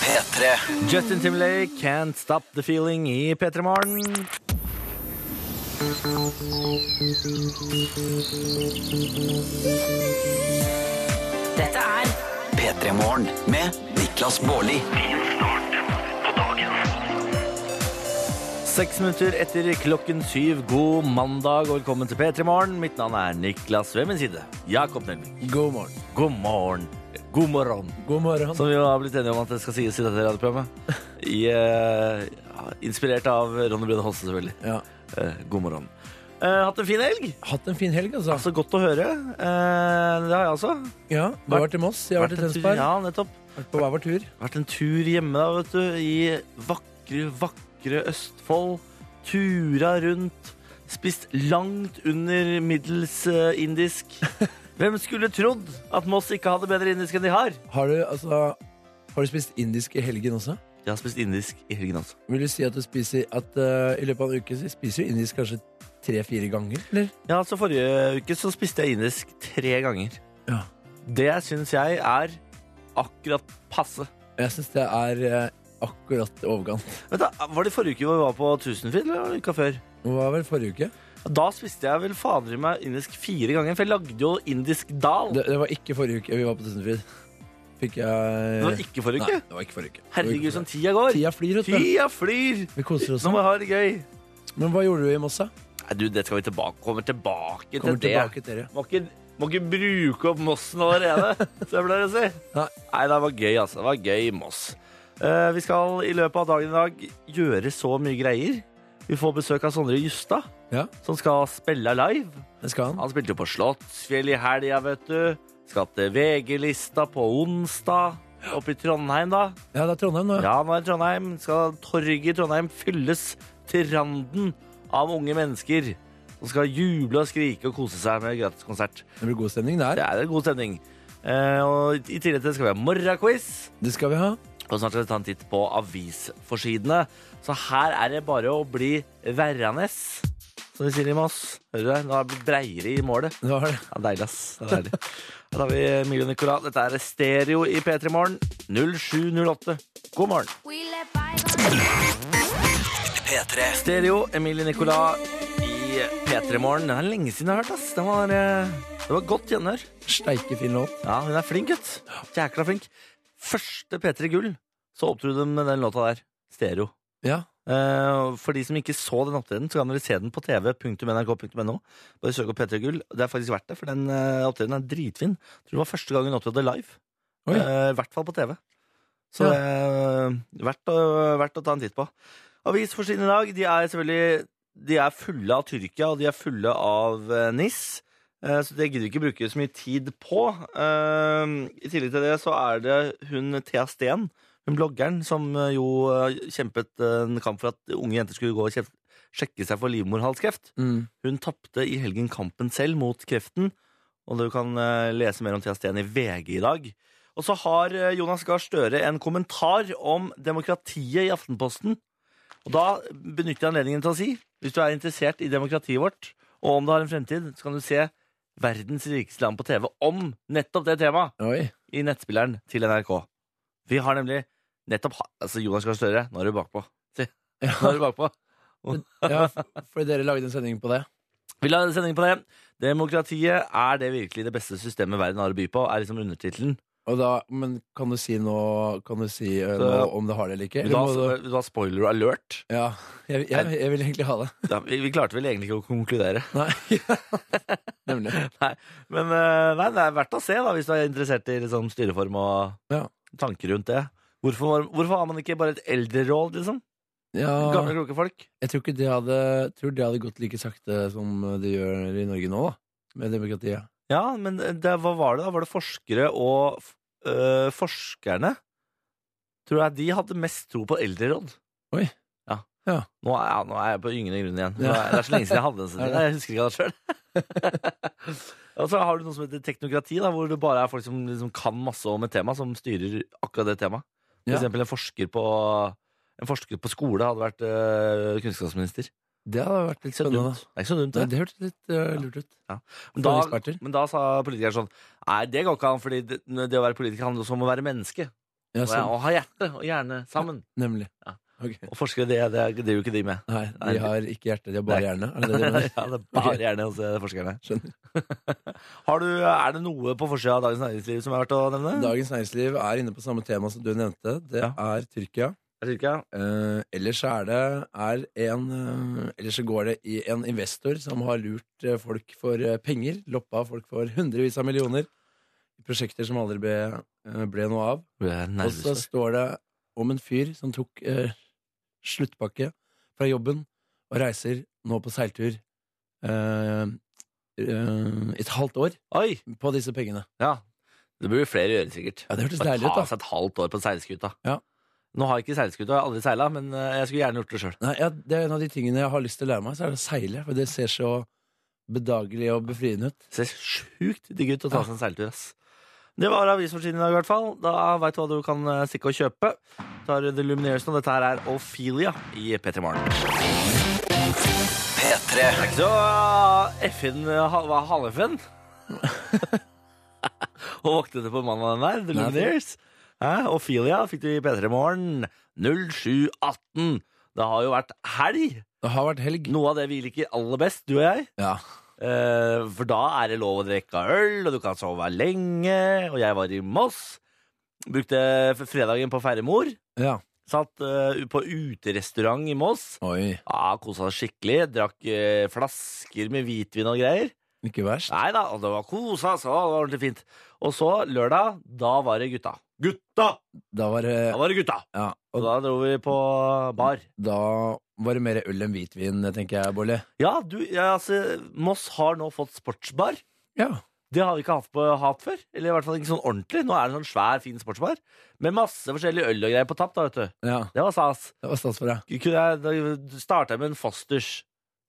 P3. Justin Timberlake, Can't Stop The Feeling i P3 Morgen. Dette er P3 Morgen med Niklas Baarli. Seks minutter etter klokken syv. God mandag og velkommen til P3 Morgen. Mitt navn er Niklas. Ved min side Jakob Nelvik. God morgen. God morgen. God morgen. God morgen. Som vi jo har blitt enige om at det skal sies i dette radioprogrammet. I, eh, ja, inspirert av Ronny Brønne Holse, selvfølgelig. Ja. Eh, god morgen. Eh, hatt en fin helg. Hatt en fin helg, altså. Altså, godt å høre. Eh, det har jeg også. Ja, Du har vært i Moss, jeg har vært i en tur- Tønsberg. Ja, nettopp. Vært på hver vår tur. Vært en tur hjemme da, vet du, i vakre, vakre Østfold. Tura rundt. Spist langt under middels eh, indisk. Hvem skulle trodd at Moss ikke hadde bedre indisk enn de har? Har du, altså, har du spist indisk i helgen også? Jeg har spist indisk i helgen altså. også. Vil du si at du spiser at, eh, i løpet av en uke så spiser du indisk kanskje tre-fire ganger? Eller? Ja, altså Forrige uke så spiste jeg indisk tre ganger. Ja. Det syns jeg er akkurat passe. Jeg syns det er eh, akkurat i overkant. Vet du, Var det forrige uke hvor vi var på Tusenfryd, eller var det uka før? Det var vel forrige uke? Da spiste jeg vel fader i meg indisk fire ganger, for jeg lagde jo indisk dal. Det, det var ikke forrige uke vi var på Tusenfryd. Fikk jeg Det var ikke forrige Nei, uke. det var ikke forrige uke. sånn Det var ikke Herregud, som forrige uke. tida går. Tida sånn. flyr, vet du. Tida flyr! Vi koser oss. Nå må jeg ha det gøy. Men hva gjorde du i Moss, da? Nei, du, det skal vi tilbake, kommer tilbake til Kommer det. tilbake til dere. Må, ikke, må ikke bruke opp Mossen allerede, som jeg pleier å si. Nei. Nei, det var gøy, altså. Det var gøy i Moss. Eh, vi skal i løpet av dagen i dag gjøre så mye greier. Vi får besøk av Sondre Justad, Ja. som skal spille live. Det skal han. Han spilte jo på Slottsfjell i helga, vet du. Skal til VG-lista på onsdag. Oppe i Trondheim, da. Ja, det er Trondheim nå. Ja, nå er det Trondheim. Skal torget i Trondheim fylles til randen av unge mennesker som skal juble og skrike og kose seg med gratiskonsert. Det blir god stemning Det der. er en god stemning. Eh, og I tillegg til det skal vi ha morgenquiz, Det skal vi ha. og snart skal vi ta en titt på avisforsidene. Så her er det bare å bli værende, som de sier i Moss. Hører du det? Nå er det blitt breiere i målet. Det var det. Ja, deilig, ass. Det er deilig. Da har vi Emilio Nicolas. Dette er Stereo i P3 Morgen. 0708. God morgen. P3. Stereo, Emilie Nicolas i P3 Morgen. Den er lenge siden jeg har hørt, ass. Det var, eh, det var godt gjenhør. Steike fin låt. Ja, hun er flink, gutt. Jækla flink. Første P3 Gull, så opptrodde hun med den låta der. Stereo. Ja. Eh, For de som ikke så den opptredenen, så kan dere se den på tv.nrk.no. Bare søk opp P3 Gull. Det er faktisk verdt det, for den eh, opptredenen er dritfin. Jeg tror det var første gang hun opptrådte live. Oi. Eh, I hvert fall på TV. Så Ja. det er verdt å, verdt å ta en titt på. Avisforsiden i dag, de er selvfølgelig De er fulle av Tyrkia, og de er fulle av eh, NIS. Eh, Så det gidder vi ikke bruke så mye tid på. Eh, I tillegg til det så er det hun Thea Steen, hun bloggeren, som eh, jo eh, kjempet en kamp for at unge jenter skulle gå og kjef- sjekke seg for livmorhalskreft. Mm. Hun tapte i helgen kampen selv mot kreften, og du kan eh, lese mer om Thea Steen i VG i dag. Og så har eh, Jonas Gahr Støre en kommentar om demokratiet i Aftenposten. Og da benytter jeg anledningen til å si, hvis du er interessert i demokratiet vårt, og om det har en fremtid, så kan du se Verdens rikeste land på TV om nettopp det temaet Oi. i nettspilleren til NRK. Vi har nemlig nettopp ha- Altså, Jonas Gahr Støre, nå er du bakpå. Se, nå er du bakpå. Ja, fordi dere lagde en sending på det. Vi la en sending på det. Demokratiet er det virkelig det beste systemet verden har å by på, er liksom undertittelen. Og da, men kan du si noe, kan du si eh, Så- noe om det har det eller ikke? Vil du Eller må ha- du, vil du ha spoiler alert? ja, jeg, jeg, jeg vil egentlig ha det. Ja, vi, vi klarte vel egentlig ikke å konkludere. Nei. Nemlig. Men eh, nei, det er verdt å se da, hvis du er interessert i liksom, styreform og Ja. tanker rundt det. Hvorfor, var- hvorfor har man ikke bare et eldreråd, liksom? Ja, Gamle, kloke folk. jeg tror ikke det hadde, tror det hadde gått like sakte som det gjør i Norge nå, da. Med demokratiet. Ja, men eh, det, hva var det da? Var det forskere og øh, forskerne? Tror jeg de hadde mest tro på eldreråd. Oi. Ja. Ja. Nå, er, ja, nå er jeg på gyngende grunn igjen. Nå Ja. er, det er så lenge siden jeg hadde den. Er siden. det? Jeg husker ikke det sjøl. og så har du noe som heter teknokrati, da, hvor det bare er folk som liksom kan masse om et tema, som styrer akkurat det temaet. For Ja. eksempel en forsker på en forsker på skole hadde vært øh, kunnskapsminister. Det hadde vært litt Så spennende. dumt. Det er ikke så dumt, Nei, det. det hørtes litt eh, lurt ut. Men For da, eksperter. men da sa politikeren sånn Nei, det går ikke an, fordi det, det å være politiker handler også om å være menneske. Ja, Og, sånn. og ha hjerte og hjerne sammen. Nemlig. Ja. Ok. Og forskere, det, det, det gjør jo ikke de med. Nei, Nei. de har ikke hjerte, de har bare Nei. hjerne. Er det det de ja, mener? det er bare Ok. hjerne hos eh, forskerne. Skjønner. Har du, er det noe på forsida av Dagens Næringsliv som er verdt å nevne? Dagens Næringsliv er inne på samme tema som du nevnte. Det Ja. er Tyrkia. Jeg tror ikke, ja. Eh, ellers er det er en eh, Ellers så går det i en investor som har lurt eh, folk for eh, penger. Loppa folk for hundrevis av millioner. Prosjekter som aldri ble, eh, ble noe av. Du er Og så nervøs. står det om en fyr som tok eh, sluttpakke fra jobben og reiser nå på seiltur eh, eh, et halvt år Oi! på disse pengene. Ja. Det blir jo flere å gjøre, sikkert. Ja, Det hørtes Bare deilig ut, ta da. seg et halvt år på seilskuta. Ja. Nå har jeg ikke seilskuta, jeg har aldri seila, men eh, jeg skulle gjerne gjort det sjøl. Nei, ja, det er En av de tingene jeg har lyst til å lære meg, så er det å seile. For det ser så bedagelig og befriende ut. Ser sjukt digg ut å ta seg en seiltur, ass. Det var avisforsiden i dag, i hvert fall. Da veit du hva du kan eh, stikke og kjøpe. Tar The Lumineers nå. Dette her er Ophelia i P3 Morgen. P3. Så FN eh, ha- var halv-FN. og våknet det på mandag den der. The Nei, Lumineers. Hæ? Ophelia fikk du i P3 Morgen 0718. Det har jo vært helg. Det har vært helg. Noe av det vi liker aller best, du og jeg. Ja. Eh, for da er det lov å drikke øl, og du kan sove lenge. Og jeg var i Moss. Brukte f- fredagen på å feire mor. ja. Satt eh, på uterestaurant i Moss. Oi, Ja, Kosa oss skikkelig. Drakk eh, flasker med hvitvin og greier. ikke verst. Nei da, og det var kosa, så det var ordentlig fint. Og så lørdag, da var det gutta. Gutta! Da var det Da var det gutta. ja, Og og da dro vi på bar. da var det mer øl enn hvitvin, tenker jeg, Bolle. Ja, du, ja, altså, Moss har nå fått sportsbar. Ja. Det har vi ikke hatt, på, hatt før. Eller i hvert fall ikke sånn ordentlig. Nå er det en sånn svær, fin sportsbar med masse forskjellig øl og greier på tapp. da, vet du. ja. Det var stas. Det var stas for deg. Kunne jeg, da starta jeg med en Fosters.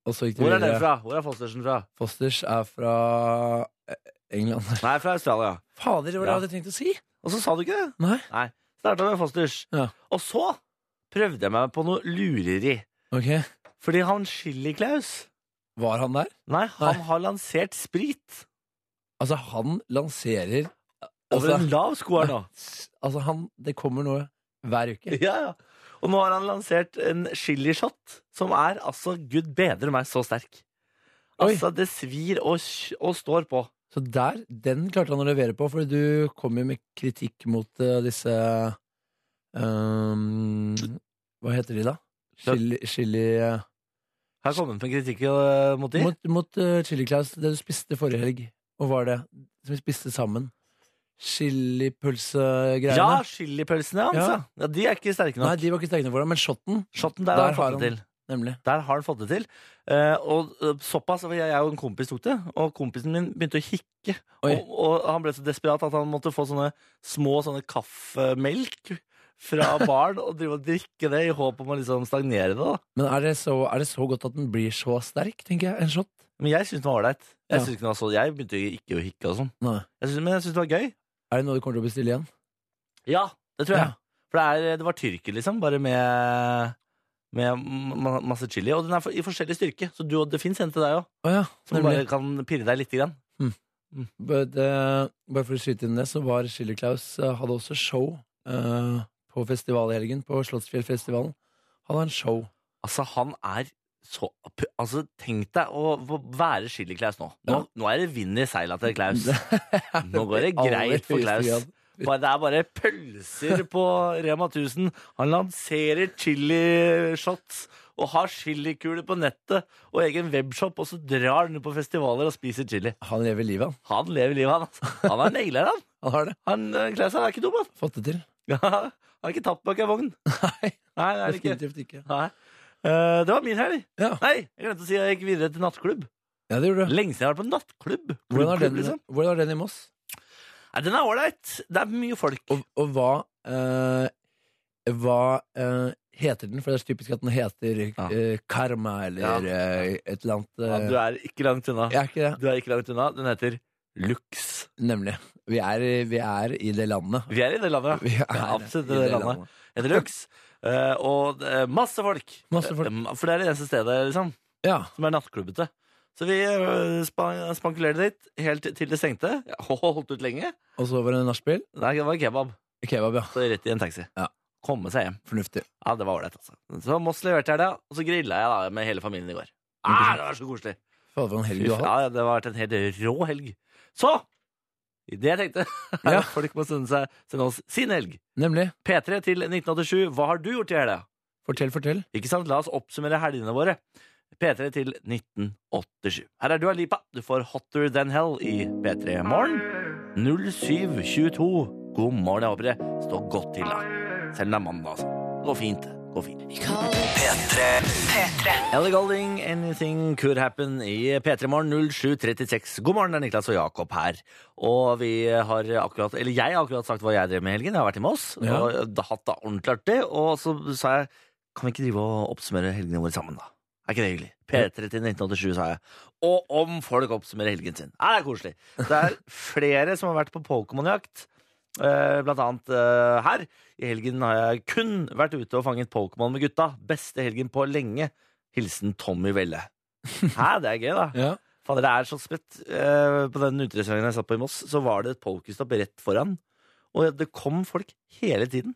Og så gikk det Hvor er den videre. fra? Hvor er Fostersen fra? Fosters er fra eh, England. Nei, fra Australia. Fader, det var det jeg hadde tenkt å si! Og så sa du ikke det. Nei. Starta med Fosters. Ja. Og så prøvde jeg meg på noe lureri. Ok, Fordi han Chili-Klaus Var han der? Nei, han Nei. har lansert sprit. Altså, han lanserer Over Altså- en lav sko her nå. Altså, han Det kommer noe hver uke. Ja, ja. Og nå har han lansert en chili-shot, som er altså gud bedre meg så sterk. Oi. Altså, det svir og, sj- og står på. Så der, den klarte han å levere på, for du kom jo med kritikk mot eh, disse ehm, Hva heter de, da? Chili, chili eh, Har jeg kommet med kritikk øh, mot de? Mot, mot eh, Chili Claus, det du spiste forrige helg. Og var det som vi spiste sammen? ja, Chilipølsegreiene? chilipølsene hans, ja. Ja. ja. De er ikke sterke Nei, nok. de var ikke sterke nok for deg, men shotten, Shotten der, har han der har fått det han- til. nemlig. Der har han fått det til. Eh, og eh, såpass, for jeg jeg og en kompis tok det, og kompisen min begynte å hikke. Oi. Og, og han ble så desperat at han måtte få sånne små sånne kaffemelk fra baren og drive og drikke det i håp om å liksom stagnere det. da. Men er det, så, er det så godt at den blir så sterk, tenker jeg? En shot? Men jeg syns den var ålreit. Jeg, Ja. synes ikke den var så- jeg begynte ikke å hikke og sånn. Nei. Jeg synes, men jeg syns det var gøy. Er det noe du kommer til å bestille igjen? Ja, det tror jeg. Ja. For det, er, det var tyrker, liksom, bare med, med ma- masse chili. Og den er for, i forskjellig styrke, så du, det fins en til deg òg. Å ja, Som nemlig. bare kan pirre deg lite grann. But, eh, bare for å skyte inn det, så var Schiller Klaus eh, hadde også show eh, på festival i helgen, på Slottsfjellfestivalen. Han har en show. Altså, han er så pu- Altså, tenk deg å v- være Chili-Klaus nå. Nå, Ja. nå er det vind i seila til Klaus. Nå går det greit for Klaus. Bare, det er bare pølser på Rema 1000. Han lanserer chili-shots og har chilikuler på nettet og egen webshop, og så drar han ut på festivaler og spiser chili. Han lever livet, han. Han lever livet, han. altså. Han er negler, han. Han har det. han eh, Klaus han er ikke dum, han. Fått det til. Ja, han er ikke tapt bak ei vogn. Nei, Nei, det er han ikke. definitivt ikke. Nei. Eh, det var min helg. Ja. Nei, jeg glemte å si at jeg gikk videre til nattklubb. Ja, det gjorde du. Lenge siden jeg har vært på nattklubb. Hvordan er Klubb, den, liksom. hvordan er den i Moss? Nei, den er ålreit. Det er mye folk. Og, og hva eh, Hva eh, heter den? For det er så typisk at den heter Ja. eh, Karma eller Ja. eh, et eller annet. ja, du eh, er ikke langt unna. Jeg er ikke det. Du er ikke langt unna. Den heter Lux. Nemlig. Vi er, vi er i det landet. Vi er i det landet, ja. Vi er Ja, absolutt, i det landet. Heter Lux. Eh, og det er masse folk. Masse folk. Eh, For det er det eneste stedet liksom, Ja. som er nattklubbete. Så vi eh, span spankulerte dit helt til det stengte. Jeg holdt ut lenge. Og så var det nachspiel. Nei, det var kebab. Kebab, ja. Så rett i en taxi. Ja. Komme seg hjem. Fornuftig. Ja, det var ålreit, altså. Så Moss leverte jeg det, og så grilla jeg da med hele familien i går. Ah, det var så koselig. Fader, for en helg Fy du har hatt. faen, ja, det har vært en helt rå helg. Så! i Det jeg tenkte Ja. Folk må sende, seg, sende oss sin helg. Nemlig. P3 til 1987. Hva har du gjort i helga? Fortell, fortell. Ikke sant? La oss oppsummere helgene våre. P3 til 1987. Her er Dua Lipa. Du får Hotter Than Hell i P3 Morgen. 0722. God morgen. Jeg håper det står godt til, da. Selv om det er mandag, altså. Det går fint. det. Går fint. P3. Ellie Golding, Anything Could Happen i P3 Morgen 0736. God morgen, det er Niklas og Jakob her. Og vi har akkurat, eller jeg har akkurat sagt hva jeg drev med i helgen. Jeg har vært i Moss Ja. og da- hatt det ordentlig artig. Og så sa jeg kan vi ikke drive og oppsummere helgene våre sammen, da? Er ikke det hyggelig? P3 til 1987, sa jeg. Og om folk oppsummerer helgen sin. Nei, det er koselig. Det er flere som har vært på Pokémon-jakt. Eh, Blant annet eh, her. I helgen har jeg kun vært ute og fanget Pokémon med gutta. Beste helgen på lenge. Hilsen Tommy Velle. Hæ, det er gøy, da. Ja. Fader, det er så spett. Eh, På den uterestauranten jeg satt på i Moss, så var det et pokestopp rett foran. Og det kom folk hele tiden.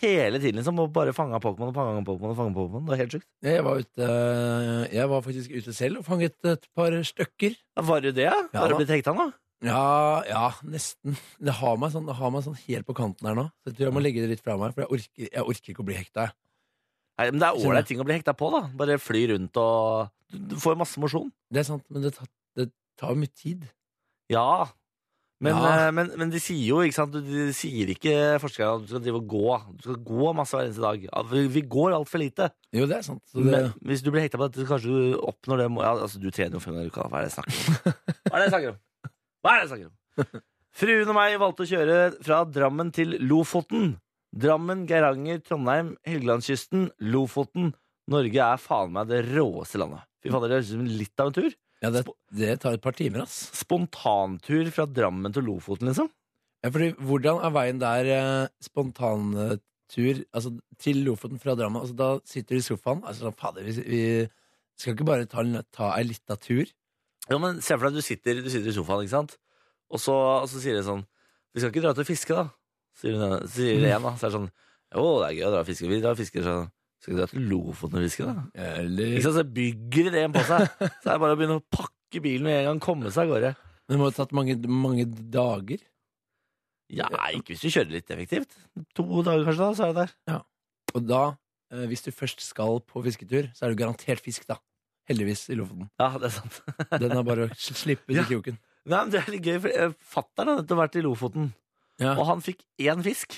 Hele tiden liksom, og bare fanga Pokémon og fanga Pokémon. og fanget Pokémon. Det var helt sjukt. Jeg var, ute, jeg var faktisk ute selv og fanget et par stykker. Ja, Var det det? Ja? Ja, Har da. du blitt hekta nå? Ja, ja, nesten. Det har meg sånn, det har meg sånn helt på kanten her nå. Så jeg tror jeg må legge det litt fra meg, for jeg orker, jeg orker ikke å bli hekta. jeg. Nei, men Det er Skjønner. ålreit ting å bli hekta på. da Bare fly rundt og Du, du får masse mosjon. Det er sant, men det tar, det tar mye tid. Ja. Men, Ja. eh, men, men de sier jo, ikke sant du- De sier ikke forskerne at du skal drive og gå. Du skal gå masse hver eneste dag. Ja, Vi, vi går altfor lite. Jo, det er sant. Så det, Men hvis du blir hekta på dette, så kanskje du oppnår det må- ja, Altså, du trener jo fem ganger i uka. Hva er det jeg snakker om? Hva er det jeg snakker om? Hva er det jeg snakker om? Fruen og meg valgte å kjøre fra Drammen til Lofoten. Drammen, Geiranger, Trondheim, Helgelandskysten, Lofoten. Norge er faen meg det råeste landet. Fy fader, det høres ut som litt av en tur. ja, det, det tar et par timer, ass. Spontantur fra Drammen til Lofoten, liksom. Ja, fordi, hvordan er veien der eh, spontantur altså, til Lofoten fra Drammen? Altså, da sitter du i sofaen altså, sånn, Fader, vi, vi skal ikke bare ta, en- ta ei lita tur? Ja, men Se for deg at du sitter, du sitter i sofaen, ikke sant? Og så, og så sier de sånn Vi skal ikke dra ut og fiske, da. Sier, hun, ene- sier det igjen, da. Så er det sånn Jo, det er gøy å dra og fiske. Vi drar og fisker. Så skal vi dra til Lofoten og fiske, da? Eller Ikke sant? Så bygger de det på seg. Så er det bare å begynne å pakke bilen med en gang, komme seg av gårde. Det må ha tatt mange, mange dager. Ja, ikke hvis du kjører litt effektivt. To dager kanskje, da, så er du der. Og da, eh, hvis du først skal på fisketur, så er du garantert fisk, da. Heldigvis, i Lofoten. Ja, det er sant. Den er bare å sl- slippe ut Ja. i kroken. Nei, men Det er litt gøy, for eh, Fatter'n har nettopp vært i Lofoten, Ja, og han fikk én fisk.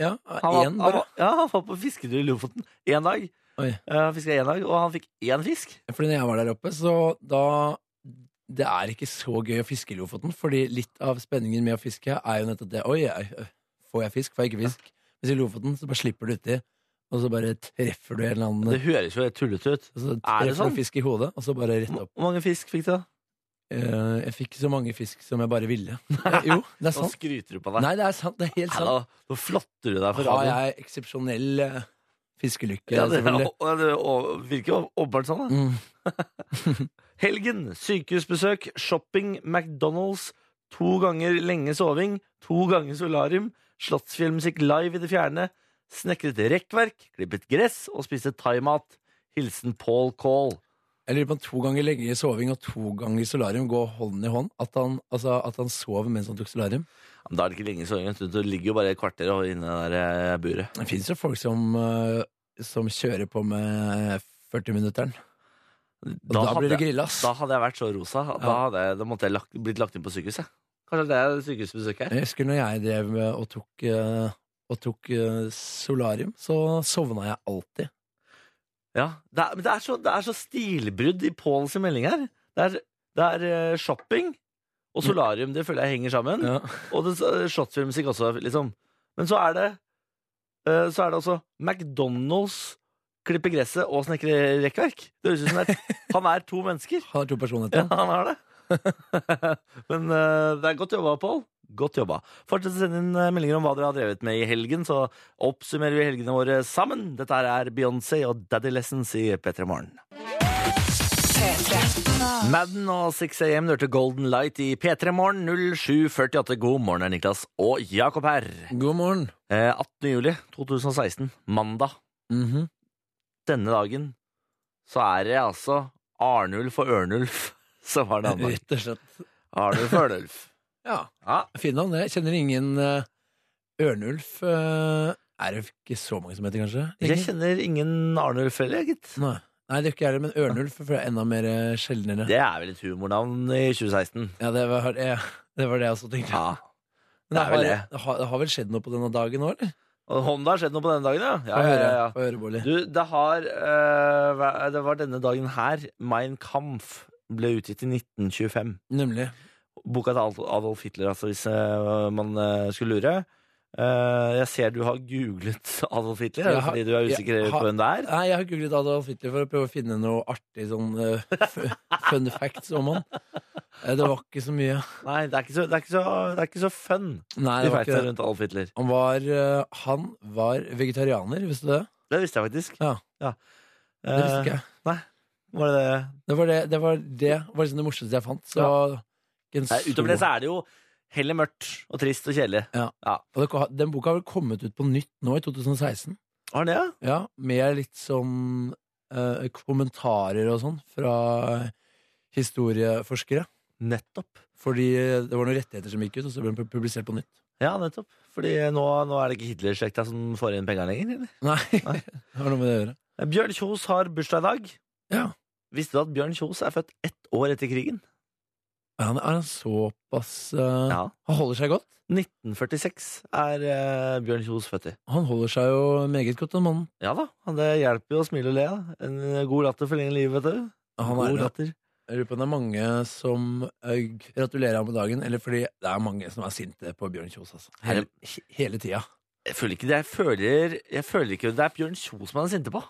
ja Han var, én han bare. var, ja, han var på fisketur i Lofoten én dag. Oi. Eh, Han fisket én dag, og han fikk én fisk. Fordi når jeg var der oppe, så da Det er ikke så gøy å fiske i Lofoten, fordi litt av spenningen med å fiske er jo nettopp det. Oi, jeg, øh, får jeg fisk? Får jeg ikke fisk? Mens i Lofoten så bare slipper du uti, og så bare treffer du en eller annen Det høres jo helt tullete ut. og så er det treffer sånn? du fisk i hodet, og så bare rett Hvor opp. mange fisk fikk du? da? Eh, Jeg fikk så mange fisk som jeg bare ville. Jo, Nå det er sant. skryter du på deg. Nei, det er sant. Det er helt sant. Nei, da, nå flotter du deg for har radioen. jeg eksepsjonell eh, fiskelykke, Ja, det, selvfølgelig. og- og- det og- virker jo åpenbart sånn. Da. Mm. Helgen, sykehusbesøk, shopping, McDonald's, to ganger lenge soving, to ganger solarium, Slottsfjellmusikk live i det fjerne, snekret rekkverk, klippet gress og spiste thaimat. Hilsen Paul Call. Jeg lurer på om to ganger lenge soving og to ganger solarium går hånd i hånd. At han, altså, at han sov mens han tok solarium. Ja, Men da er det ikke lenge så lenge. Du ligger jo bare et kvarter og inne i det der eh, buret. Det fins jo folk som, eh, som kjører på med 40-minutteren. Og da, blir du jeg, grilla, ass. da hadde jeg vært så rosa. at Da, Ja. hadde jeg, da måtte jeg lagt, blitt lagt inn på sykehuset. Kanskje det er sykehusbesøk her. Jeg husker når jeg drev med og tok, eh, og tok eh, solarium, så sovna jeg alltid. Ja, det er, men det er, så, det er så stilbrudd i Pauls melding her. Det er, det er eh, shopping og solarium. Det føler jeg henger sammen. Ja. Og det, eh, shotsfilmmusikk også, liksom. Men så er det eh, Så er det også McDonald's, klippe gresset og snekre rekkverk. Det høres ut som det er, han er to mennesker. Har to Ja, personligheter. han har det. Men eh, det er godt jobba, Pål. Godt jobba. Fortsett å sende inn eh, meldinger om hva dere har drevet med i helgen, så oppsummerer vi helgene våre sammen. Dette her er Beyoncé og Daddy Lessons i P3 Morgen. Madden og 6 AM du hørte Golden Light i P3 Morgen 07.48. God morgen, det er Niklas og Jakob her. God morgen. Eh, 18. juli 2016, mandag. Mhm. Denne dagen så er det altså Arnulf og Ørnulf som var det andre. Rett og slett. Arnulf og Ørnulf. Ja. Ja, Fin navn, det. Jeg kjenner ingen eh, Ørnulf eh, er det ikke så mange som heter, kanskje? jeg kjenner ingen Arnulf heller, gitt. Nei. Nei, det er ikke jeg heller, men Ørnulf føler jeg er enda mer eh, sjeldnere. Det er vel et humornavn i 2016. Ja, det var, jeg- det var det jeg også tenkte. Ja. Men det er vel har, det. har, det har vel skjedd noe på denne dagen òg, eller? Og Honda har skjedd noe på denne dagen, ja. Få ja, høre, ja, ja. få høre, Bolli. Du, det har eh, hva- Det var denne dagen her Mein Kampf ble utgitt i 1925. Nemlig. Boka til Adol- Adolf Hitler, altså, hvis eh, man eh, skulle lure. Eh, jeg ser du har googlet Adolf Hitler, er det Jeg har- fordi du er jeg usikker har- på hvem det er? Nei, jeg har googlet Adolf Hitler for å prøve å finne noe artig sånn eh, f- fun facts om han. Eh, Det var ikke så mye. Nei, det er ikke så, det er ikke så, det er ikke så fun, Nei, de det var ikke feitene det. rundt Adolf Hitler. Han var, eh, han var vegetarianer, visste du det? Det visste jeg faktisk. Ja. Det visste ikke jeg. Eh, var det det? Det var det, det, var det, var liksom det morsomste jeg fant. Så ikke en Nei, utover det stor- så er det jo heller mørkt og trist og kjedelig. Og det- Den boka har vel kommet ut på nytt nå i 2016. Har den det, ja? Ja, Med litt sånn eh, kommentarer og sånn fra historieforskere. Nettopp. Fordi det var noen rettigheter som gikk ut, og så ble den pu- publisert på nytt. Ja, nettopp. Fordi nå, nå er det ikke Hitler-slekta som får inn pengene lenger, eller? Nei, det har noe med det å gjøre. Eh, Bjørn Kjos har bursdag i dag. Ja. Visste du at Bjørn Kjos er født ett år etter krigen? Er han, er han såpass eh, Ja. Han holder seg godt. 1946 er eh, Bjørn Kjos født i. Han holder seg jo meget godt, den mannen. Ja da, han- det hjelper jo å smile og le. da. En eh, god latter forlenger livet, vet du. Han god er, latter. jeg lurer på om det er mange som eh, gratulerer ham med dagen, eller fordi det er mange som er sinte på Bjørn Kjos, altså. Hele, he- hele tida. Jeg føler ikke det. Jeg føler, jeg føler ikke det er Bjørn Kjos man er sinte på.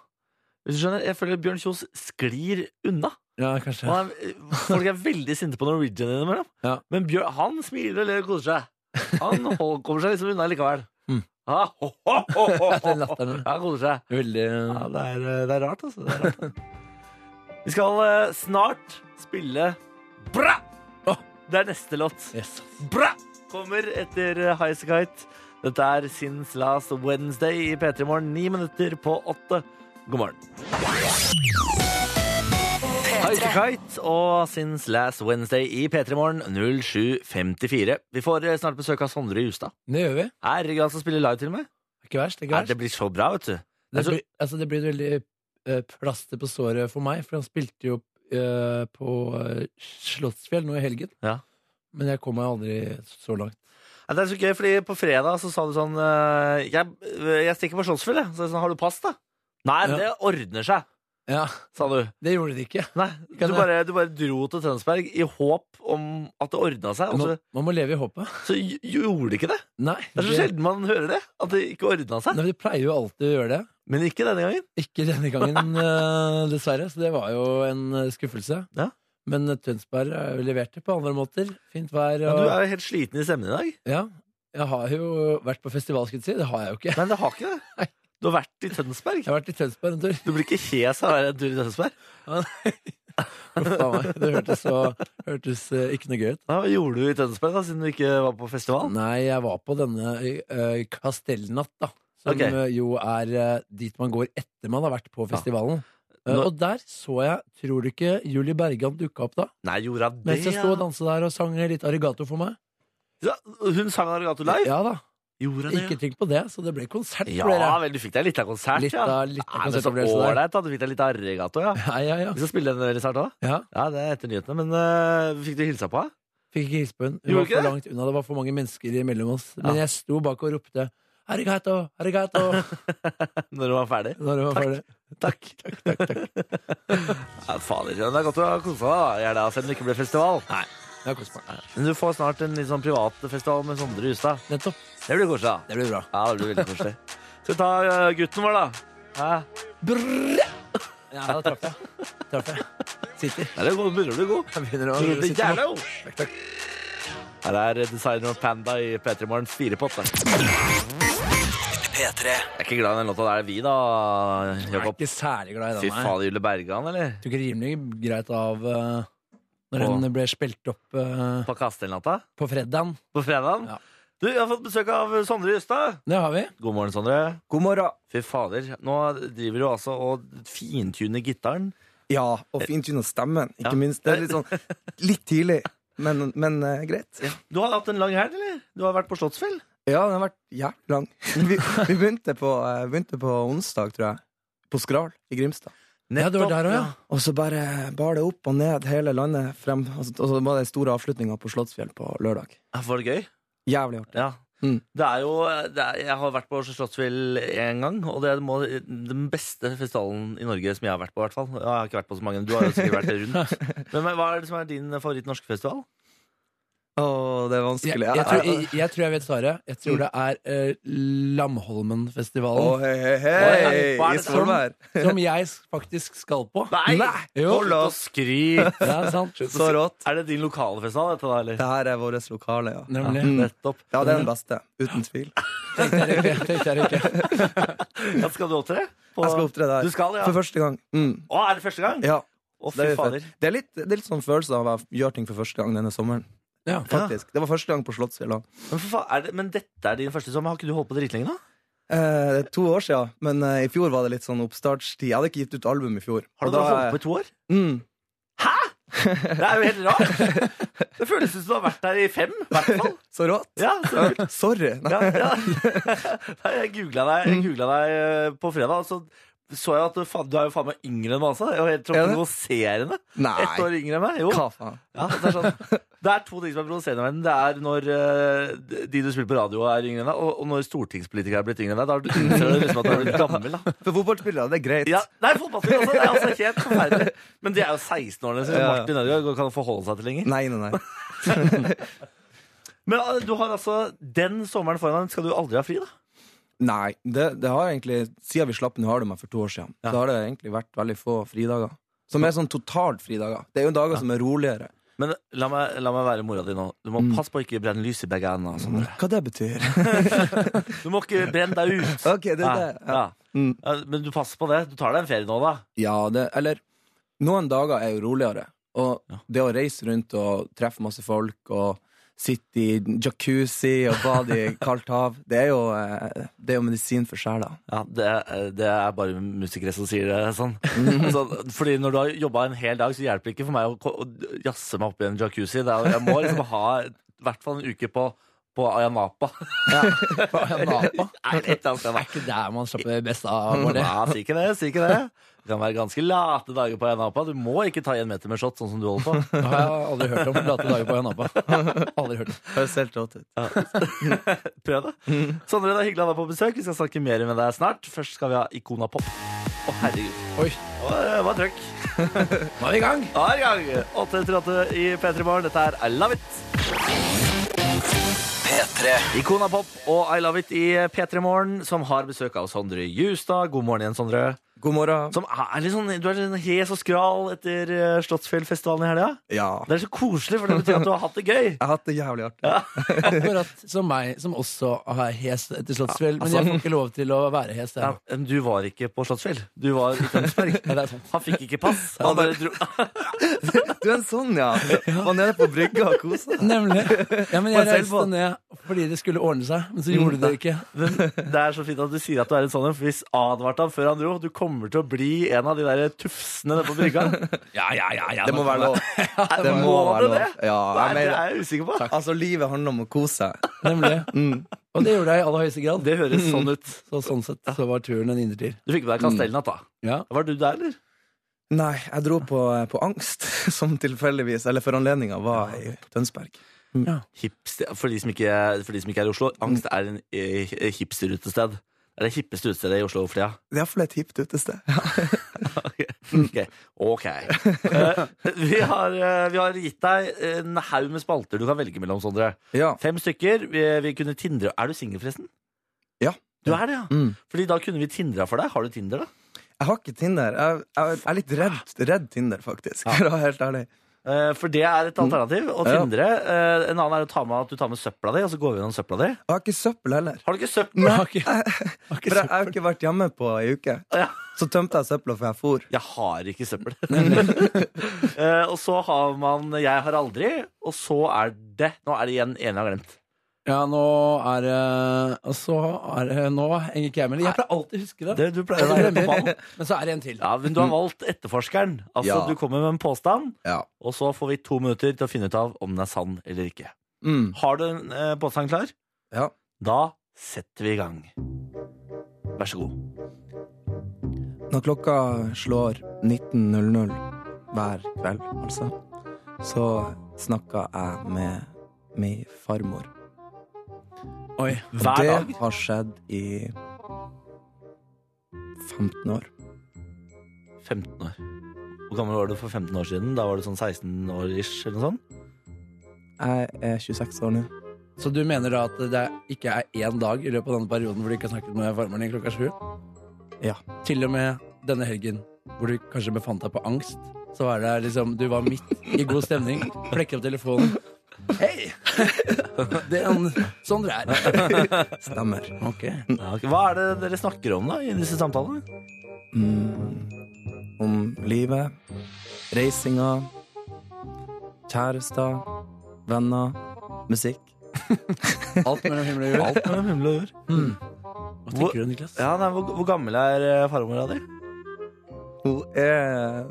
Hvis du skjønner, Jeg føler Bjørn Kjos sklir unna. Ja, kanskje. Han er, folk er veldig sinte på Norwegian innimellom. Ja. Men Bjørn, han smiler og ler og koser seg. Han hold- kommer seg liksom unna likevel. Mm. Ah, ho, ho, ho, ho, ho. Den latteren. Han koser seg. Veldig Ja, det er, det er rart, altså. Det er rart. Vi skal eh, snart spille Bra! Åh. Det er neste låt. Yes. Bra! Kommer etter Highasakite. Dette er Since Last Wednesday i P3 Morgen, ni minutter på åtte. God morgen. Highasakite og Since Last Wednesday i P3 Morgen 07.54. Vi får eh, snart besøk av Sondre Justad. Det gjør vi. Herregud, han som spiller live, til og med. Ikke verst. Ikke Nei, verst. det blir så bra, vet du. Det altså- blir, altså, det blir et veldig eh, plaster på såret for meg, for han spilte jo eh, på eh, Slottsfjell nå i helgen. Ja. Men jeg kom meg aldri så langt. Nei, det er så gøy, fordi på fredag så sa du sånn eh, Jeg, jeg stikker på Slottsfjell, jeg. Så jeg sånn, har du pass, da? Nei, Ja. det ordner seg, Ja, sa du. Det gjorde det ikke. Nei, du Kan jeg- bare, du bare dro til Tønsberg i håp om at det ordna seg, og Man, så, man må leve i håpet. så gj- gjorde det ikke det. Nei, Altså- Det er så sjelden man hører det. At det ikke ordna seg. Nei, Vi pleier jo alltid å gjøre det. Men ikke denne gangen. Ikke denne gangen, eh, dessverre. Så det var jo en eh, skuffelse. Ja. Men eh, Tønsberg eh, leverte på andre måter. Fint vær Men og du er jo helt sliten i stemmen i dag. Ja. Jeg har jo vært på festival, skulle jeg si. Det har jeg jo ikke. Nei, det har ikke det. Du har vært i Tønsberg. Jeg har vært i Tønsberg en tur. Du blir ikke hes av å være en tur i Tønsberg. Uff a meg. Det hørtes, så, hørtes eh, ikke noe gøy ut. Nei, Hva gjorde du i Tønsberg, da, siden du ikke var på festival? Nei, jeg var på denne eh, Kastellnatt, da. Som Ok. eh, jo er eh, dit man går etter man har vært på Ja. festivalen. Eh, Nå- og der så jeg, tror du ikke, Julie Bergan dukka opp da? Nei, gjorde hun det? Mens jeg sto og dansa der og sang litt arigato for meg. ja. Ja, hun sang Arigato Live? Ja da, Gjorde hun det? Ikke tenk på det, så det ble konsert. Ja ble det. vel, du fikk deg litt av konsert, Litt ja. av- litt av Nei, men så konsertopplevelse der. ålreit, da. Du fikk deg litt Arigato, ja. ja, ja, ja. Vi skal spille den veldig snart òg. ja. Ja, det er etter nyhetene. Men øh, fikk du hilsa på henne? Fikk ikke hilse på henne. Hun Gjorde var ikke for det? langt unna. Det var for mange mennesker imellom oss. Ja. Men jeg sto bak og ropte 'arigato, arigato' når hun var ferdig? når hun var ferdig. Takk. takk, takk, ja, fader, det er godt å ha kosa deg, da, Gjerda, selv om det ikke ble festival. Nei. Ja, kos meg. Men du får snart en litt sånn privat festival med Sondre Justad. Nettopp. Det blir koselig, da. Det blir bra. Ja, det blir veldig koselig. Skal vi ta øh, gutten vår, da? Hæ? Brrr! Ja, da traff jeg. Traff jeg. Sitter. Nei, det er god- begynner å bli god. Jeg begynner å Tror du det er sitte jævla nå. god? Her er designer og panda i P3 Morgens firepott. da. P3. Jeg er ikke glad i den låta der, vi da, Jeg er Jakob. ikke særlig glad i Fy den. her. faen, Julie Bergan, eller? Jeg tror ikke rimelig greit av eh, Når På- den ble spilt opp eh, På Kastellnatta? på fredagen. På fredagen? Ja. Du, jeg har fått besøk av Sondre Justad. Det har vi. God morgen, Sondre. God morgen. Fy fader, nå driver du altså og fintuner gitaren. Ja, og fintune stemmen, ikke Ja. minst. Det er litt sånn litt tidlig, men, men eh, greit. Du har hatt en lang helg, eller? Du har vært på Slottsfjell? Ja, den har vært jævlig lang. Vi, vi begynte, på, eh, begynte på onsdag, tror jeg. På Skral i Grimstad. Ja, du var der også, ja. Og så bare bar det opp og ned hele landet frem. Og så, og så var det store avslutninga på Slottsfjell på lørdag. Ja, Var det gøy? Jævlig artig. Ja. Mm. Det er jo, det er, jeg har vært på Slottsfjell én gang, og det må, den beste festivalen i Norge som jeg har vært på. I hvert fall. Jeg har ikke vært på så mange, du har jo sikkert vært rundt. Men, men hva er det som er din favoritt norske festival? Å, det er Jeg, vanskelig. Mm. jeg, tror, jeg, jeg tror jeg vet svaret. Jeg tror det er eh, Å, Lamholmenfestivalen. hei, hei, Oi, hva hei! er I det Svolvær. Som jeg faktisk skal på. Jo, Hold og skryt! det er sant. Så rått. Er det din lokale festival, dette da, eller? Det her er vårt lokale, ja. Nemlig. Mm. Nettopp. Ja, det er den beste. Uten tvil. Tenkte jeg ikke, tenkte jeg ikke. Ja, skal du opptre? På- Jeg skal opptre der. Du skal, ja. For første gang. Mm. Å, er det første gang? Ja, Å, fy det er, fader. fett. det, er litt, det er litt sånn følelse av at jeg gjør ting for første gang denne sommeren. Ja. Faktisk. Det var første gang på Slottsfjell. da. Men, for faen, er det, men dette er din første sommer. Har ikke du holdt på dritlenge, da? Eh, det er to år siden, men eh, i fjor var det litt sånn oppstartstid. Jeg hadde ikke gitt ut album i fjor. Har Og du bare da- holdt på i to år? Mm. Det er jo helt rart. Det føles ut som du har vært der i fem, i hvert fall. Så rått! Ja, så kult. Sorry. Nei. Ja, ja. Nei, Jeg googla deg, jeg googlet deg eh, på fredag, og så så jeg at du, faen, du er jo faen meg yngre enn meg også. Det er jo helt Er det? provoserende. Ett Nei. år yngre enn meg. Jo. Hva faen? Ja, det, er sånn. det er to ting som er provoserende i verden. Det er når eh, de du spiller på radio, er yngre enn deg, og, og når stortingspolitikere er blitt yngre enn deg. Da er du- innser du liksom at du er blitt gammel. da For fotballspillere, det er greit. ja, Nei, fotballspillere også. Det er altså helt forferdelig. Men de er jo 16-årene, så Ja, ja. Martin Ødegaard kan forholde seg til lenger. Nei, nei, nei. Men eh, du har altså den sommeren foran deg. Skal du aldri ha fri, da? Nei, det, det har egentlig Siden vi slapp Nå har du meg for to år siden, så har det egentlig vært veldig få fridager. Som er sånn totalt fridager. Det er jo dager som er roligere. Men la meg, la meg være mora di nå. Du må passe på å ikke brenne lys i sånn. begge ender. Sondre. Hva det betyr? Du må ikke brenne deg ut. ok, det er Ja, det. Ja. ja. Mm. Ja, Men du passer på det. Du tar deg en ferie nå, da. Ja, det, eller Noen dager er jo roligere. Og Ja. det å reise rundt og treffe masse folk og sitte i jacuzzi og bade i kaldt hav, det er jo, eh, det er jo medisin for sjela. Ja, det, det er bare musikere som sier det sånn. Så, fordi når du har jobba en hel dag, så hjelper det ikke for meg å, ko- å jazze meg opp i en jacuzzi. Det er, jeg må liksom ha i hvert fall en uke på, på Ayanapa. Napa. Nei, et eller annet sted, da. Er ikke der man slapper best av? Var det? Mm. Nei, si ikke det. Si ikke det. Det kan være ganske late dager på Ayanapa. Du må ikke ta én meter med shot, sånn som du holder på. Det har jeg aldri hørt om. Late dager på Napa. Aldri hørt om. Høres helt rått ut. Prøv det. Sondre, det er hyggelig å ha deg på besøk. Vi skal snakke mer med deg snart. Først skal vi ha Ikona Pop. Å, herregud. Oi, Det var- Det var trøkk. nå er vi i gang! Da er det i gang. 8.38 i P3 Morgen. Dette er I Love It. P3. Ikona Pop og I Love It i P3 Morgen, som har besøk av Sondre Justad. God morgen igjen, Sondre. God morgen. Som er litt sånn, du er litt sånn hes og skral etter eh, Slottsfjellfestivalen i helga. Ja. Det er så koselig, for det betyr at du har hatt det gøy. Jeg har hatt det jævlig artig. Akkurat som meg, som også er hes etter Slottsfjell. Men jeg får ikke lov til å være hes Ja, der. men du var ikke på Slottsfjell. Du var i Tønsberg. Ja, det er sant. Han fikk ikke pass. Han bare dro. Du er en sånn, ja. Var nede på brygga og kosa deg. Nemlig. Ja, men På en jeg reiste selbåt. ned fordi det skulle ordne seg, men så gjorde det ikke. Men det er så fint at du sier at du er en sånn en, for hvis advarte han før han dro, du kommer til å bli en av de der tufsene nede på brygga. Ja, ja, ja, ja. Det må være lov. Det må Må være det lov. det? Nei, Ja, jeg det mener, er jeg usikker på. altså, livet handler om å kose seg. Nemlig. Og det gjorde jeg i aller høyeste grad. Det høres sånn ut. Så sånn sett så var turen en innertier. Du fikk med deg Kastellnatt, da. Ja. Var du der, eller? Nei, jeg dro på, på angst, som tilfeldigvis, eller for anledninga, var i Tønsberg. Hipster, for, de som ikke, for de som ikke er i Oslo, Angst er en eh, hipsterutested. Det er det hippeste utestedet i Oslo for tida. Det er iallfall et hipt utested. Ok. ok. Eh, vi, har, eh, vi har gitt deg en haug med spalter du kan velge mellom, Sondre. Ja. Fem stykker. Vi, vi kunne tindre Er du singel, forresten? Ja. Du er det, ja? Mm. Fordi da kunne vi tindra for deg. Har du Tinder, da? Jeg har ikke Tinder. Jeg, jeg, jeg er litt redd, redd Tinder, faktisk. For å være helt ærlig. Eh, For det er et alternativ. Og Ja. Tindre eh, En annen er å ta med at du tar med søpla di, og så går vi gjennom søpla di. Jeg har ikke søppel heller. Har du ikke søppel? Jeg har ikke, For jeg, jeg har ikke vært hjemme på ei uke. Ja. Så tømte jeg søpla før jeg for. Jeg har ikke søppel. Eh, og så har man 'jeg har aldri', og så er det Nå er det igjen en jeg har glemt. ja, nå er det Altså, er det Nå henger ikke jeg med. Jeg pleier alltid å huske det. det du pleier Jeg å være på glemmer. ballen. Men så er det en til. Ja, men du har valgt etterforskeren. Altså, Ja. Du kommer med en påstand, Ja. og så får vi to minutter til å finne ut av om den er sann eller ikke. Mm. Har du en eh, påstand klar? Ja. Da setter vi i gang. Vær så god. Når klokka slår 19.00 hver kveld, altså, så snakker jeg med min farmor. Oi. Og Hver det dag. har skjedd i 15 år. 15 år. Hvor gammel var du for 15 år siden? Da var du sånn 16 år ish, eller noe sånt? Jeg er 26 år nå. Så du mener da at det ikke er én dag i løpet av denne perioden hvor du ikke har snakket med farmor din klokka sju? Ja. Til og med denne helgen hvor du kanskje befant deg på angst, så var det liksom Du var midt i god stemning, flekker opp telefonen. Hei! Det er en, sånn det er. Stemmer. Ok. Ja, ok. Hva er det dere snakker om da, i disse samtalene? Mm. Om livet, reisinga, kjærester, venner, musikk. Alt mellom himmel og jord. Alt mellom himmel og jord. Hva tenker du, Niklas? Ja, nei, hvor, hvor gammel er eh, farmora di? Hun er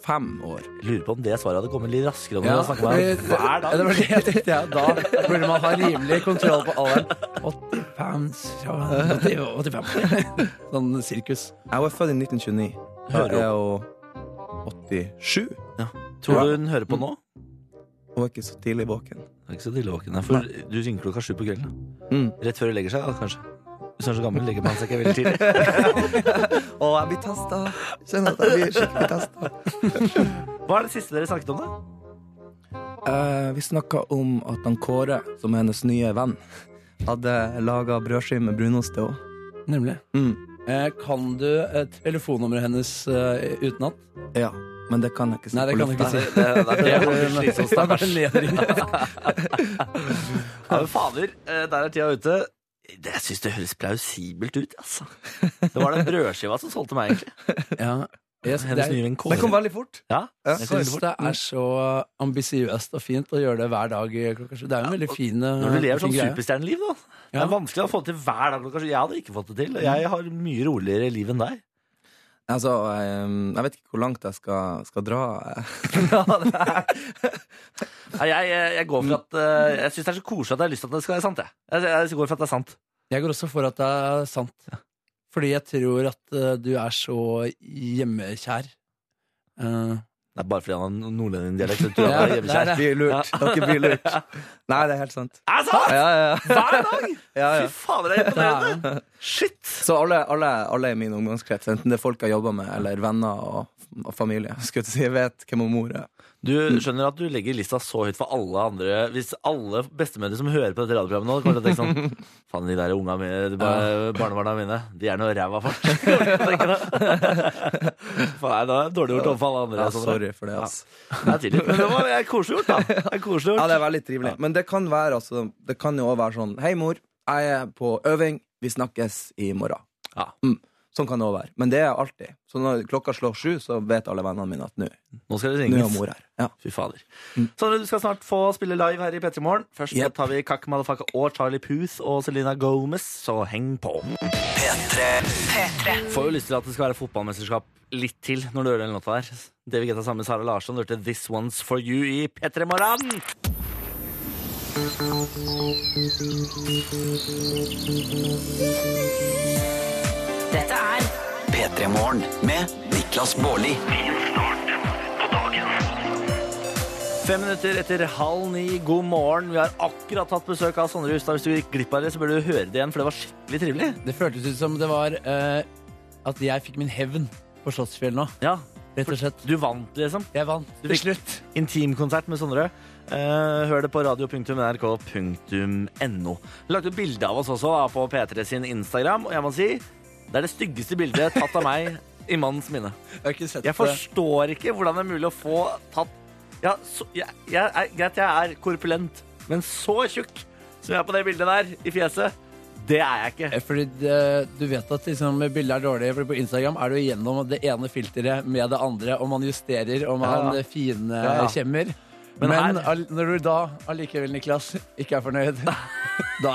85 år. Jeg Lurer på om det svaret hadde kommet litt raskere om Ja, du hadde snakket med fordi- henne hver Ja, det dag. var det jeg tenkte, ja. Da burde man ha rimelig kontroll på alderen. 85 ja, 80, 85. Sånn sirkus. Jeg var født i 1929. Da Hører er hun 87. Tror du hun hører på nå? Hun er ikke så tidlig våken. Det er ikke så tillevåken, nei, for du ringer klokka sju på kvelden. Mm. Rett før du legger seg, da, kanskje. Hvis hun er så gammel, legger man seg ikke veldig tidlig. Å, jeg blir testa! Kjenner at jeg blir skikkelig testa. Hva er det siste dere snakket om, da? Eh, vi snakka om at han Kåre, som er hennes nye venn, hadde laga brødskive med brunost til henne. Nemlig. Mm. Eh, kan du eh, telefonnummeret hennes eh, utenat? Ja, men det kan jeg ikke si Nei, det på kan du lufta. ikke si. Det, det, det, det, Det er bare nedringning. Ja, men fader, eh, der er tida ute. Det, jeg syns det høres plausibelt ut, altså. Det var den brødskiva som solgte meg, egentlig. Ja. Jeg, det Hennes er, nye venn Det kom Kåre. veldig fort. Ja, Ja. jeg synes syns det det er så ambisiøst og fint å gjøre det hver dag eh, klokka sju. Det er jo en veldig fin, eh, var- Når du lever fin sånn greie. superstjerneliv, da. Det Ja. er vanskelig å få det til hver dag. Kanskje. Jeg hadde ikke fått det til. og Jeg har mye roligere liv enn deg. Altså, ehm, jeg vet ikke hvor langt jeg skal, skal dra. Nei, jeg, jeg, jeg går for at eh, Jeg syns det er så koselig at jeg har lyst til at det skal være sant. Jeg, jeg, jeg går for at det er sant. Jeg går også for at det er sant. Fordi jeg tror at eh, du er så hjemmekjær. Eh, Det er bare fordi han har nordlendingdialekt. så tror jeg Ja, han er hjemmekjær. det Blir lurt. Dere blir lurt. Nei, det er helt sant. Er det sant? Ja, ja, Hver dag! ja, Fy ja. fader, det er imponerende. Shit! Så alle, alle, alle i min omgangskrets, enten det er folk jeg jobber med, eller venner og, og familie, skulle jeg til å si, jeg vet hvem hun mor er. Du skjønner at du legger lista så høyt for alle andre Hvis alle bestemødre som hører på dette radioprogrammet nå, kommer til å tenke sånn Faen, de der unga mine, de bar barnebarna mine, de er noe ræva folk. Tenker jeg. Faen, nei, det var dårlig gjort overfor alle andre. Ja, sånn. sorry for det, altså. Det er tilgitt, men det var det er koselig gjort, da. Det er koselig Ja, gjort. det er veldig trivelig. Men det kan være, altså, det kan jo også være sånn Hei, mor. Jeg er på øving. Vi snakkes i morgen. Ja. Mm. Sånn kan det òg være. Men det er alltid. Så når klokka slår sju, så vet alle vennene mine at nå Nå skal det nå er ringes. mor her. Ja. Fy fader. Sondre, du skal snart få spille live her i P3 Morgen. Først så Yep. tar vi Kakk Madafaka og Charlie Puth og Selena Gomez, så heng på. Får jo lyst til at det skal være fotballmesterskap litt til når du hører den låta der. Det vi getta sammen med Sara Larsson, du hørte This One's For You i P3 Morgen. Dette er P3 Morgen med Niklas Baarli. Fem minutter etter halv ni, god morgen. Vi har akkurat hatt besøk av Sondre Hustad. Hvis du gikk glipp av det, så bør du høre det igjen, for det var skikkelig trivelig. Det føltes ut som det var eh, at jeg fikk min hevn på Slottsfjell nå. Ja, Rett og slett. Du vant, liksom. Jeg vant Du til fikk- slutt. Intimkonsert med Sondre. Eh, hør det på radio.nrk.no. Vi lagde ut bilde av oss også da, på P3 sin Instagram, og jeg må si det er det styggeste bildet tatt av meg i mannens minne. Jeg har ikke sett Jeg på det. forstår ikke hvordan det er mulig å få tatt ja, så, jeg, jeg, er- Greit, jeg er korpulent, men så tjukk som jeg er på det bildet der, i fjeset, det er jeg ikke. Eh, Fordi det, du vet at liksom, bildet er dårlig, fordi på Instagram er du igjennom det ene filteret med det andre, og man justerer, og man Ja, ja. ja. finkjemmer. Men Men, her- all, når du da allikevel, Niklas, ikke er fornøyd, da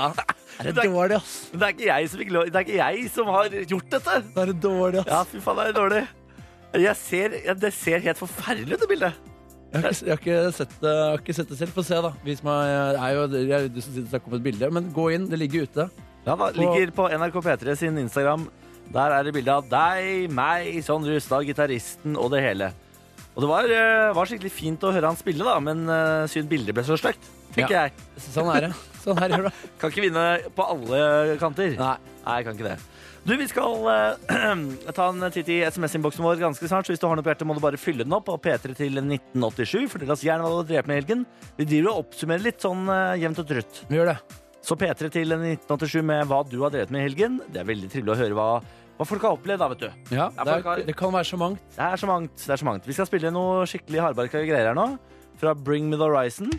er det Det er- dårlig, ass. Men det er ikke jeg som, ikke, lo- det er ikke jeg som har gjort dette. Da er det dårlig, ass. Ja, fy faen, det er dårlig. Jeg ser, ja, det ser helt forferdelig ut, det bildet. Jeg, har ikke, jeg, har ikke sett, det- jeg har ikke sett det selv. Få se, da. Vis meg, det er jo, det er jo du som sitter og snakker om et bilde, men gå inn. Det ligger ute. Ja, da, ligger på NRK P3 sin Instagram. Der er det bilde av deg, meg, Sondre Justad, gitaristen og det hele. Og det var, eh, var skikkelig fint å høre han spille, da, men eh, synd bildet ble så stygt, tenker Ja. jeg. Sånn er det. Sånn er det. bra. Kan ikke vinne på alle kanter. Nei. Nei, kan ikke det. Du, Vi skal eh, ta en titt i SMS-innboksen vår ganske snart. Så hvis du har noe på hjertet, må du bare fylle den opp. Og P3 til 1987. Fortell oss gjerne hva du har drevet med i helgen. Vi driver og oppsummerer litt sånn eh, jevnt og trutt. Vi gjør det. Så P3 til 1987 med hva du har drevet med i helgen. Det er veldig trivelig å høre hva, hva folk har opplevd, da, vet du. Ja, Ja, det, folk har- er, det kan være så mangt. Det er så mangt. det er så mangt. Vi skal spille noe skikkelig hardbarka greier her nå. Fra Bring Me The Horizon.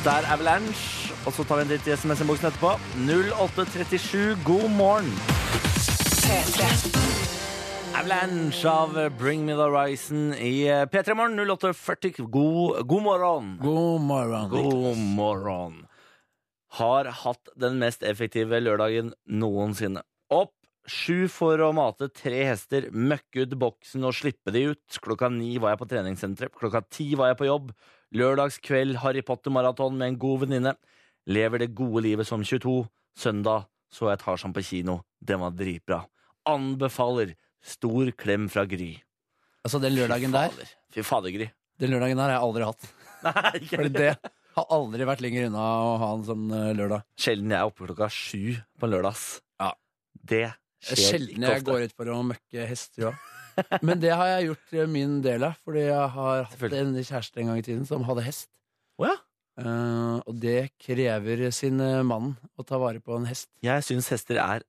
Dette er Avalanche. Og så tar vi en titt i SMS-innboksen etterpå. 0837, god morgen. Avalanche av Bring Me The Horizon i P3 Morgen 0840. God, god morgen. God morgen. God morgen. Har hatt den mest effektive lørdagen noensinne. Opp sju for å mate tre hester, møkke ut boksen og slippe de ut. Klokka ni var jeg på treningssenteret. Klokka ti var jeg på jobb. Lørdagskveld Harry Potter-maraton med en god venninne. Lever det gode livet som 22. Søndag så jeg Tarzan på kino. Den var dritbra. Anbefaler. Stor klem fra Gry. Altså, den lørdagen Fy der fader. Fy fader, Gry. Den lørdagen der har jeg aldri hatt. Nei, ikke Fordi det har aldri vært lenger unna å ha en sånn eh, lørdag. Sjelden jeg er oppe klokka sju på en lørdag. ass. Ja. Det skjer Sjelden ikke jeg ofte. går ut for å møkke hester òg. Men det har jeg gjort eh, min del av, fordi jeg har hatt en Selvfølgelig. kjæreste en gang i tiden som hadde hest. Å ja. Eh, og det krever sin eh, mann å ta vare på en hest. Jeg syns hester er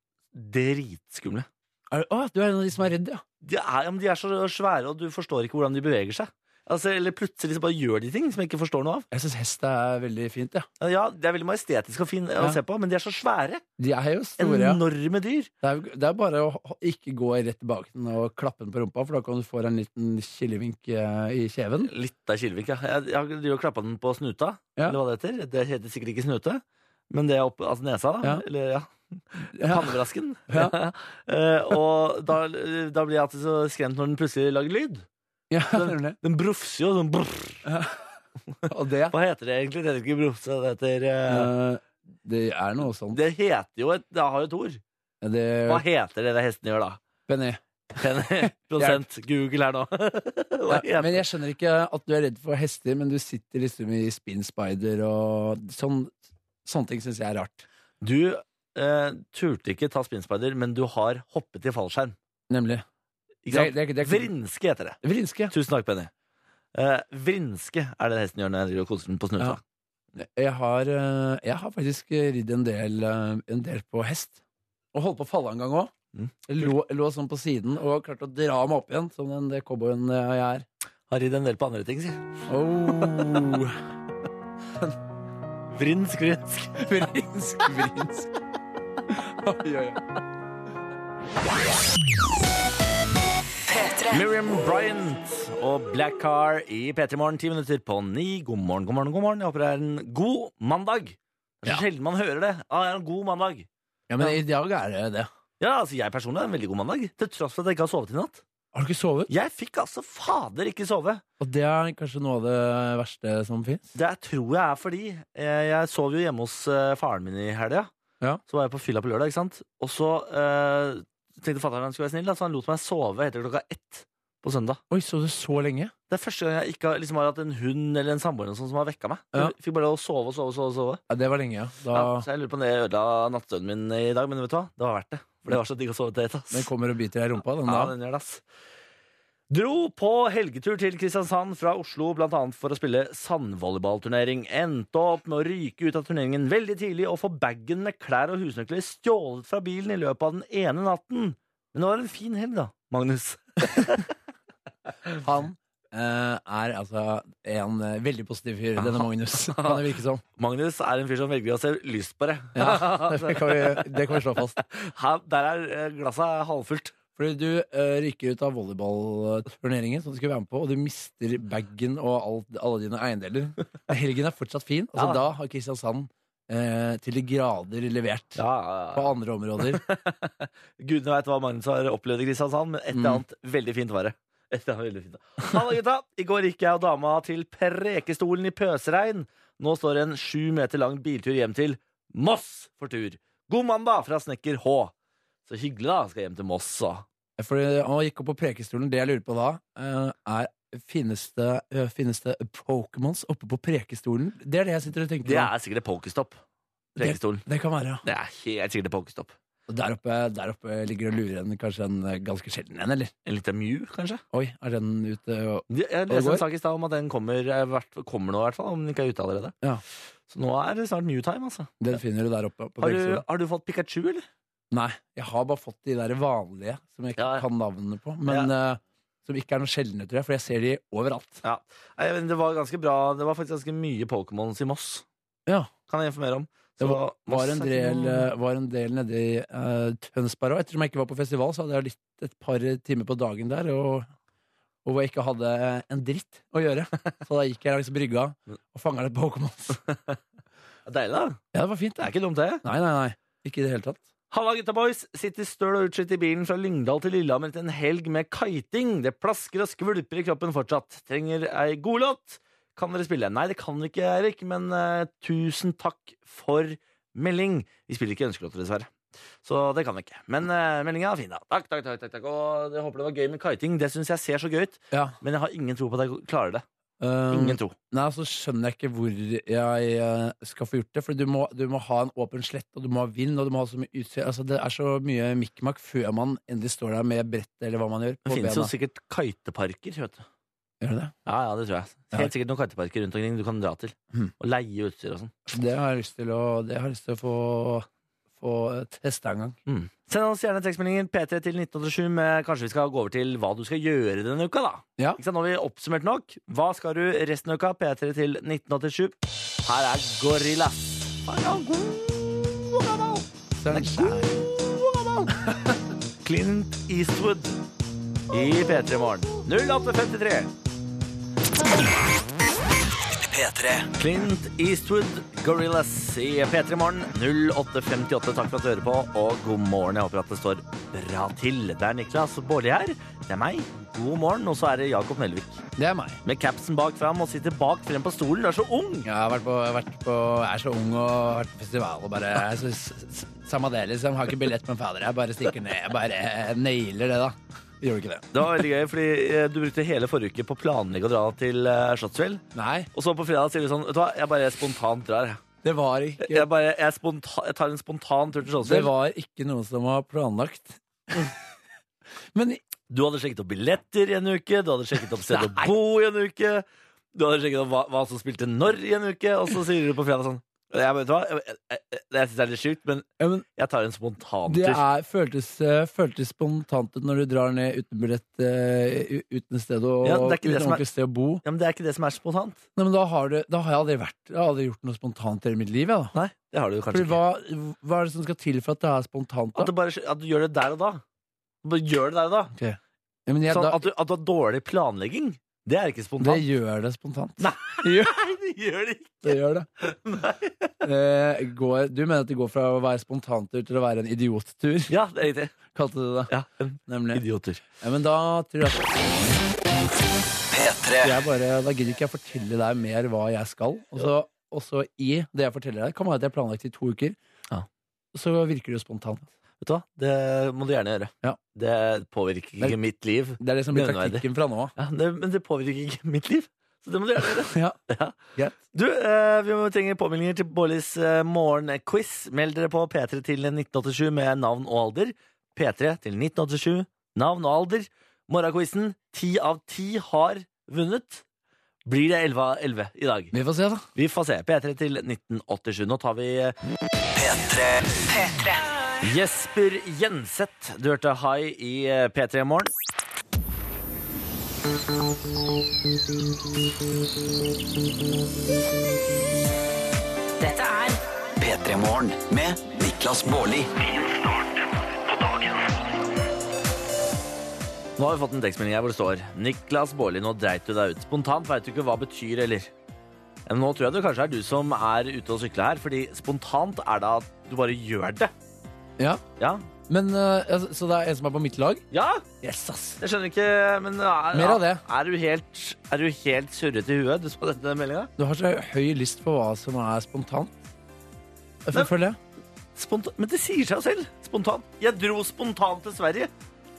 dritskumle. Er, å, du er en av de som er redd, ja. De er, ja, men de er så svære, og du forstår ikke hvordan de beveger seg. Altså, eller plutselig så bare gjør de ting som jeg ikke forstår noe av. Jeg syns hest er veldig fint, ja. Ja, Det er veldig majestetisk og fin å Ja. se på, men de er så svære. De er jo store, ja. Enorme dyr. Det er, jo- det er bare å ho- ikke gå rett bak den og klappe den på rumpa, for da kan du få en liten kilevink eh, i kjeven. Litt av Kilvik, ja. Jeg, jeg driver og klappa den på snuta, Ja. eller hva det heter. Det heter sikkert ikke snute, men det er opp, altså nesa, da. Ja. Eller ja. Ja. Pannebrasken. Ja. Eh, og da, da blir jeg alltid så skremt når den plutselig lager lyd. Ja, nemlig. Den brufser jo sånn brrr. og det Hva heter det egentlig? Det heter ikke brufse, det heter eh, eh, Det er noe sånt. Det heter jo et Det har jo et ord. Det, Hva heter det det hesten gjør, da? Benny. Penny, Prosent Google her nå. Hva Ja, heter men jeg skjønner ikke at du er redd for hester, men du sitter liksom i spinspider og sånn, sånne ting syns jeg er rart. Du eh, turte ikke ta spinnspeider, men du har hoppet i fallskjerm. Nemlig. Ikke Det, sant? det, det, det, Vrinske heter det. vrinske. Tusen takk, Penny. Eh, vrinske er det hesten gjør når jeg driver og koser den på snuta. Ja. Jeg har, eh, jeg har faktisk eh, ridd en del, eh, en del på hest. Og holdt på å falle en gang òg. Mm. Jeg lå, jeg lå sånn på siden og klarte å dra meg opp igjen, som den det cowboyen eh, jeg er. Har ridd en del på andre ting, si. Oh. Vrinsk, vrinsk. vrinsk, vrinsk. Oi, oi, oi. Miriam Bryant og Black Car i P3 Morgen, ti minutter på ni. God morgen, god morgen, god morgen. Jeg håper det er en god mandag. Det er så sjelden man hører det. Ah, Ja, det er en god mandag. Ja, men i dag er det det. Ja, altså Jeg personlig er en veldig god mandag, til tross for at jeg ikke har sovet i natt. Har du ikke sovet? Jeg fikk altså fader ikke sove. Og det er kanskje noe av det verste som fins. Det tror jeg er fordi eh, jeg sov jo hjemme hos eh, faren min i helga. Ja. Så var jeg på fylla på lørdag, ikke sant. Og så eh, tenkte fatter'n han skulle være snill, da, så han lot meg sove etter klokka ett på søndag. Oi, så du så lenge? Det er første gang jeg ikke har, liksom, har hatt en hund eller en samboer eller noe sånt som har vekka meg. Ja. Jeg fikk bare lov å sove og sove og sove. og sove. Ja, det var lenge, ja. Da, Ja, så jeg lurer på om det ødela nattstøvnen min i dag, men vet du hva? Det var verdt det. For det var så digg å sove til ett. ass. Den kommer og biter deg i rumpa, den Ja, da. den gjør det, ass. Dro på helgetur til Kristiansand fra Oslo, blant annet for å spille sandvolleyballturnering. Endte opp med å ryke ut av turneringen veldig tidlig og få bagen med klær og husnøkler stjålet fra bilen i løpet av den ene natten. Men det var en fin helg, da, Magnus. Han eh, er altså en eh, veldig positiv fyr, denne Magnus. Kan det virke som. Magnus er en fyr som velger å se lyst på det. Det kan vi, det kan vi slå fast. Her, der er eh, glasset halvfullt. Fordi du eh, ryker ut av volleyballturneringen som du skulle være med på, og du mister bagen og alt, alle dine eiendeler. Men Helgen er fortsatt fin. Altså, Ja. Da har Kristiansand eh, til de grader levert på andre områder. Gudene veit hva Magnus har opplevd i Kristiansand, men et eller annet veldig fint var det. Et eller annet veldig fint. Halla, gutta! I går gikk jeg og dama til Prekestolen i pøsregn. Nå står en sju meter lang biltur hjem til Moss for tur. God mandag fra snekker H. Så hyggelig, da. Skal hjem til Moss, så. Fordi han gikk opp på prekestolen. Det jeg lurer på da, eh, er finnes det, eh, finnes det Pokémons oppe på prekestolen? Det er det jeg sitter og tenker Det på. er sikkert et pokerstopp. Prekestolen. Det kan være. Det er helt sikkert et pokerstopp. Og der oppe, der oppe ligger det og lurer en kanskje en eh, ganske sjelden en, eller? En liten Mew, kanskje? Oi, er den ute og Jeg det leste går? en sak i stad om at den kommer, eh, hvert- kommer nå, i hvert fall. Om den ikke er ute allerede. Ja. Så nå er det snart Mew-time, altså. Den finner du der oppe. på Har du, prekestolen. har du fått Pikachu, eller? Nei, jeg har bare fått de der vanlige som jeg ikke Ja, ja. kan navnene på. Men eh, som ikke er noe sjeldne, tror jeg, for jeg ser de overalt. Ja. Nei, men det var ganske bra Det var faktisk ganske mye Pokémons i Moss. Ja. Kan jeg informere om. Det var, Var en del, eh, var en del nede i eh, Tønsberg òg. Ettersom jeg ikke var på festival, så hadde jeg litt, et par timer på dagen der. Og, og hvor jeg ikke hadde eh, en dritt å gjøre. Så da gikk jeg langs brygga og fanga litt Pokémons. Deilig, da. Ja, det var fint, Det det. er ikke dumt, det. Nei, nei, nei. Ikke i det hele tatt. Halla, gutta boys! Sitter støl og utslitt i bilen fra Lyngdal til Lillehammer etter en helg med kiting. Det plasker og skvulper i kroppen fortsatt. Trenger ei godlåt. Kan dere spille? Nei, det kan vi ikke, Erik, men eh, tusen takk for melding. Vi spiller ikke ønskelåter, dessverre. Så det kan vi ikke. Men uh, meldinga er fin, da. Takk, takk, takk. takk, takk. Og jeg håper det var gøy med kiting. Det syns jeg ser så gøy ut, Ja. men jeg har ingen tro på at jeg klarer det. Um, Ingen tro. Nei, så skjønner jeg ikke hvor jeg eh, skal få gjort det. For du må, du må ha en åpen slett, og du må ha vind, og du må ha så mye utstyr. Altså, det er så mye mikk-makk før man endelig står der med brettet eller hva man gjør. Det På finnes jo bena. sikkert kiteparker, vet du. Gjør det? Ja, ja, Mm. det tror jeg. Helt sikkert noen kiteparker rundt omkring du kan dra til. Mhm. Og leie utstyr og sånn. det har jeg lyst til å, det har jeg lyst til å få, få testa en gang. Mm. Send oss gjerne tekstmeldingen P3 til 1987 med kanskje vi skal gå over til hva du skal gjøre denne uka, da. Ja. Ikke sant? Nå har vi oppsummert nok. Hva skal du resten av uka? P3 til 1987. Her er Gorillas. Clint Eastwood i P3 Morgen. 0853. P3. Clint Eastwood, Gorillas i P3 Morgen. 0858. Takk for at du hører på, og god morgen. Jeg håper at det står bra til. Det er Niklas Baarli her. Det er meg. God morgen. Og så er det Jakob Melvik. Det er meg. Med capsen bak fram og sitter bak frem på stolen. Du er så ung! Jeg, har vært på, jeg, har vært på, jeg er så ung og har vært på festival og bare jeg synes, s- s- Samme det, liksom. Har ikke billett, men fader, jeg bare stikker ned. Jeg bare nailer det, da. Gjorde du ikke det? Det var veldig gøy, fordi eh, du brukte hele forrige uke på å planlegge å dra til eh, Slottsfjell. Nei, Og så på fredag sier du sånn Vet du hva, jeg bare spontant drar, jeg. det var ikke Jeg, bare, jeg, sponta, jeg tar en spontan tur til Det Slottsfjell. var ikke noe som var planlagt. Men Du hadde sjekket opp billetter i en uke, du hadde sjekket opp sted å bo i en uke, du hadde sjekket opp hva, hva som spilte når i en uke, og så sier du på fredag sånn jeg, vet du hva? Jeg, jeg, jeg, jeg synes det er litt sjukt, men ja, men jeg tar en spontan det tur. er, føltes, eh, føltes spontant ut når du drar ned uten billett, eh, u- uten sted å, Ja, det er ikke uten det som er- ordentlig sted å bo. Ja, men det er ikke det som er spontant. Nei, men da har, du, da har jeg aldri vært Jeg har aldri gjort noe spontant i hele mitt liv. Jeg, da. Nei, det har du kanskje Fordi ikke. hva, hva er det som skal til for at det er spontant? At Da? du, bare, at du gjør det der og da. Bare gjør det der og da. Ja, men jeg, Sånn, da at, du, at du har dårlig planlegging, det er ikke det spontant. gjør det spontant. Nei. Gjør- Nei, det gjør det ikke. Det gjør det. Eh, går, du mener at det går fra å være spontantur til å være en idiottur, Ja, det er riktig. kalte du det. Ja, en Nemlig. Idioter. Ja, men da tror jeg at P3. jeg bare, da gidder ikke jeg fortelle deg mer hva jeg skal. Og så, og så i det jeg forteller deg, kan være at jeg har planlagt i to uker. Ja. Så virker det jo spontant. Vet du hva? Det må du gjerne gjøre. Ja. Det påvirker ikke Men- mitt liv. Det er det som blir Nødvendig. taktikken fra nå av. Ja, det, men det påvirker ikke mitt liv. Så det må du gjerne gjøre. Ja. Greit. Du, eh, vi må trenger påmeldinger til Bollis eh, morgenquiz. Meld dere på P3 til 1987 med navn og alder. P3 til 1987, navn og alder. Morgenquizen, ti av ti har vunnet. Blir det 11 av 11 i dag? Vi får se, da. Vi får se. eh, P3 til 1987. Nå tar vi P3. P3. Jesper Jenseth, du hørte High i eh, P3 Morgen. Dette er P3 Morgen med Niklas Baarli. Nå har vi fått en tekstmelding her hvor det står Niklas Baarli, nå dreit du deg ut. Spontant veit du ikke hva betyr, eller? Ja, men Nå tror jeg det kanskje er du som er ute og sykler her, fordi spontant er det at du bare gjør det. Ja. Ja? Men, eh, altså, så det er en som er på mitt lag? ja Yes, ass. jeg skjønner ikke, men er, Mer av det. Er du helt, er du helt surret i huet, du som har denne meldinga? Du har så høy lyst på hva som er spontant. Jeg Men- får følge. Spontan, men det sier seg jo selv. Spontant. Jeg dro spontant til Sverige.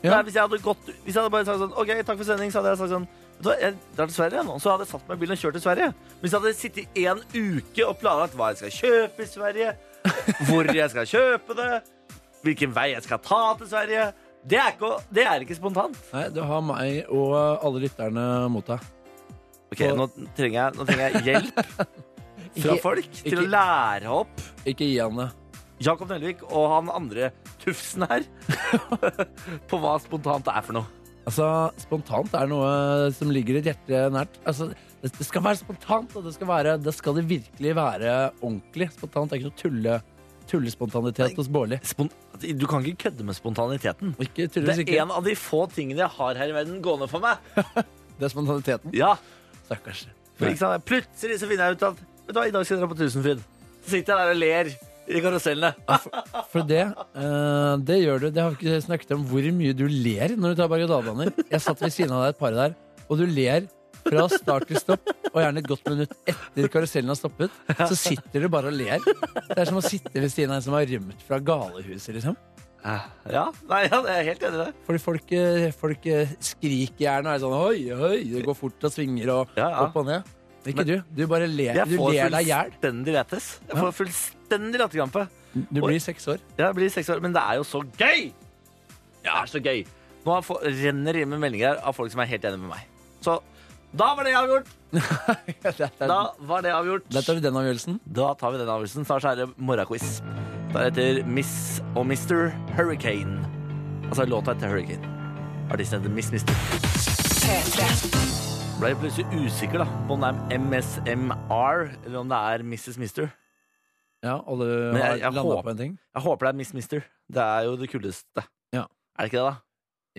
Ja. Nei, hvis, jeg hadde gått, hvis jeg hadde bare sagt sånn OK, takk for sending, så hadde jeg sagt sånn Vet du hva, jeg drar til Sverige nå. Så hadde jeg satt meg i bilen og kjørt til Sverige. Men hvis jeg hadde sittet i en uke og planlagt hva jeg skal kjøpe i Sverige, hvor jeg skal kjøpe det, hvilken vei jeg skal ta til Sverige Det er ikke, å- det er ikke spontant. Nei, du har meg og alle lytterne mot deg. OK, nå trenger jeg, nå trenger jeg hjelp fra Ikke- folk til å ikke- lære opp Ikke gi han det. Jakob Nelvik og han andre tufsen her på hva spontant er for noe. Altså, spontant er noe som ligger et hjerte nært. Altså, det, det skal være spontant, og det skal, være, det skal det virkelig være ordentlig. Spontant det er ikke noe tulle, tullespontanitet hos Bårli. Spon- Altså, du kan ikke kødde med spontaniteten. Og ikke Det tulles er ikke. en av de få tingene jeg har her i verden gående for meg. Det er spontaniteten. Ja, Stakkars. for ikke sant? Plutselig så finner jeg ut at Vet du hva, i dag skal jeg dra på Tusenfryd. Så sitter jeg der og ler i karusellene. For det, eh, det gjør du. Det har vi ikke snakket om hvor mye du ler når du tar berg-og-dal-baner. Jeg satt ved siden av deg et par der, og du ler fra start til stopp, og gjerne et godt minutt etter karusellen har stoppet. Så sitter du bare og ler. Det er som å sitte ved siden av en som har rømt fra galehuset, liksom. Ja, nei, ja, jeg er helt enig i det. Fordi folk, eh, folk eh, skriker gjerne og er sånn Oi, oi, det går fort og svinger og Ja, ja. opp og ned. Ikke du. Du bare ler, Jeg du får ler deg i hjel. fullstendig letes. Jeg får fullstendig latterkrampe. Du blir seks år. Jeg blir seks år, men det er jo så gøy! Det er så gøy. Nå har jeg få- renner det inn med meldinger av folk som er helt enig med meg. Så da var det avgjort! Der, Da der, var det avgjort. der tar du den avgjørelsen. Da tar vi den avgjørelsen. Snart så er det morgenquiz. Deretter Miss og Mr. Hurricane. Altså låta etter Hurricane. Artisten heter Miss Mister. Ble jeg plutselig usikker da på om det er MSMR eller om det er Mrs. Mister. Ja, alle Men jeg- har jeg landa håper- på en ting. Jeg håper det er Miss Mister. Det er jo det kuleste. Ja. Er det ikke det, da?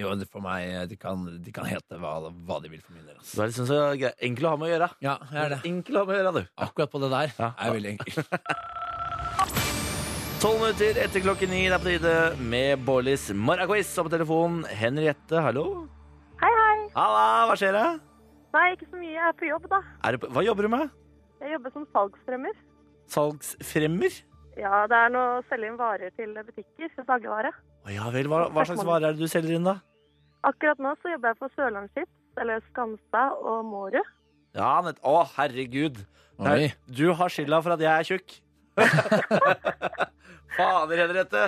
Jo, det- for meg De kan, de kan hete hva, hva de vil for min del. altså. ass. Du er liksom så grei. enkel å ha med å gjøre. Ja, jeg er det. Enkel å ha med å gjøre, du. Akkurat på det der Ja. er veldig enkelt. Tolv minutter etter klokken ni. Det er på tide med Bollys morgenquiz. Og på telefon Henriette, hallo. Hei, hei. Halla, hva skjer det? Nei, ikke så mye. Jeg er på jobb, da. Er du på- Hva jobber du med? Jeg jobber som salgsfremmer. Salgsfremmer? Ja, det er noe å selge inn varer til butikker. til Dagligvare. Å ja vel, hva, hva slags varer er det du selger inn, da? Akkurat nå så jobber jeg for Sørlandschips, eller Skansa og Mårud. Ja, nett... Å, herregud. Oi. Nei, Du har skylda for at jeg er tjukk. Fader, Henriette.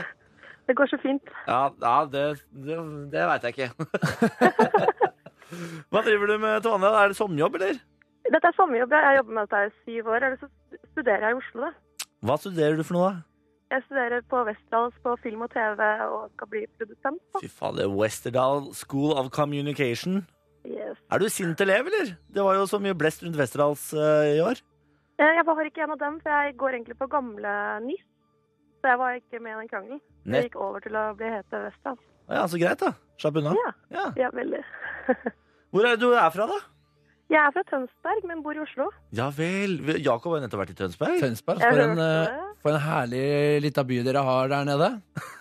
Det går så fint. Ja, ja det, det, det veit jeg ikke. Hva driver du med til vanlig? Er det sommerjobb, eller? Dette er sommerjobb. ja. Jeg jobber med dette i syv år. Eller så studerer jeg i Oslo, da. Hva studerer du for noe, da? Jeg studerer på Westerdals på film og TV og skal bli produsent. Da. Fy fader, Westerdal School of Communication. Yes. Er du sint elev, eller? Det var jo så mye blest rundt Westerdals eh, i år. Eh, Jeg var ikke en av dem, for jeg går egentlig på gamle NIS. Så jeg var ikke med i den krangelen. Nett- Jeg gikk over til å bli hete Westerdals. Å Ja, Så greit, da. Slapp unna. Ja. Ja. Ja, veldig. Hvor er det du er fra, da? Jeg er fra Tønsberg, men bor i Oslo. Ja vel. Vi- Jakob har jo nettopp vært i Tønsberg. Tønsberg, Jeg for en, hørte eh, for en herlig lita by dere har der nede.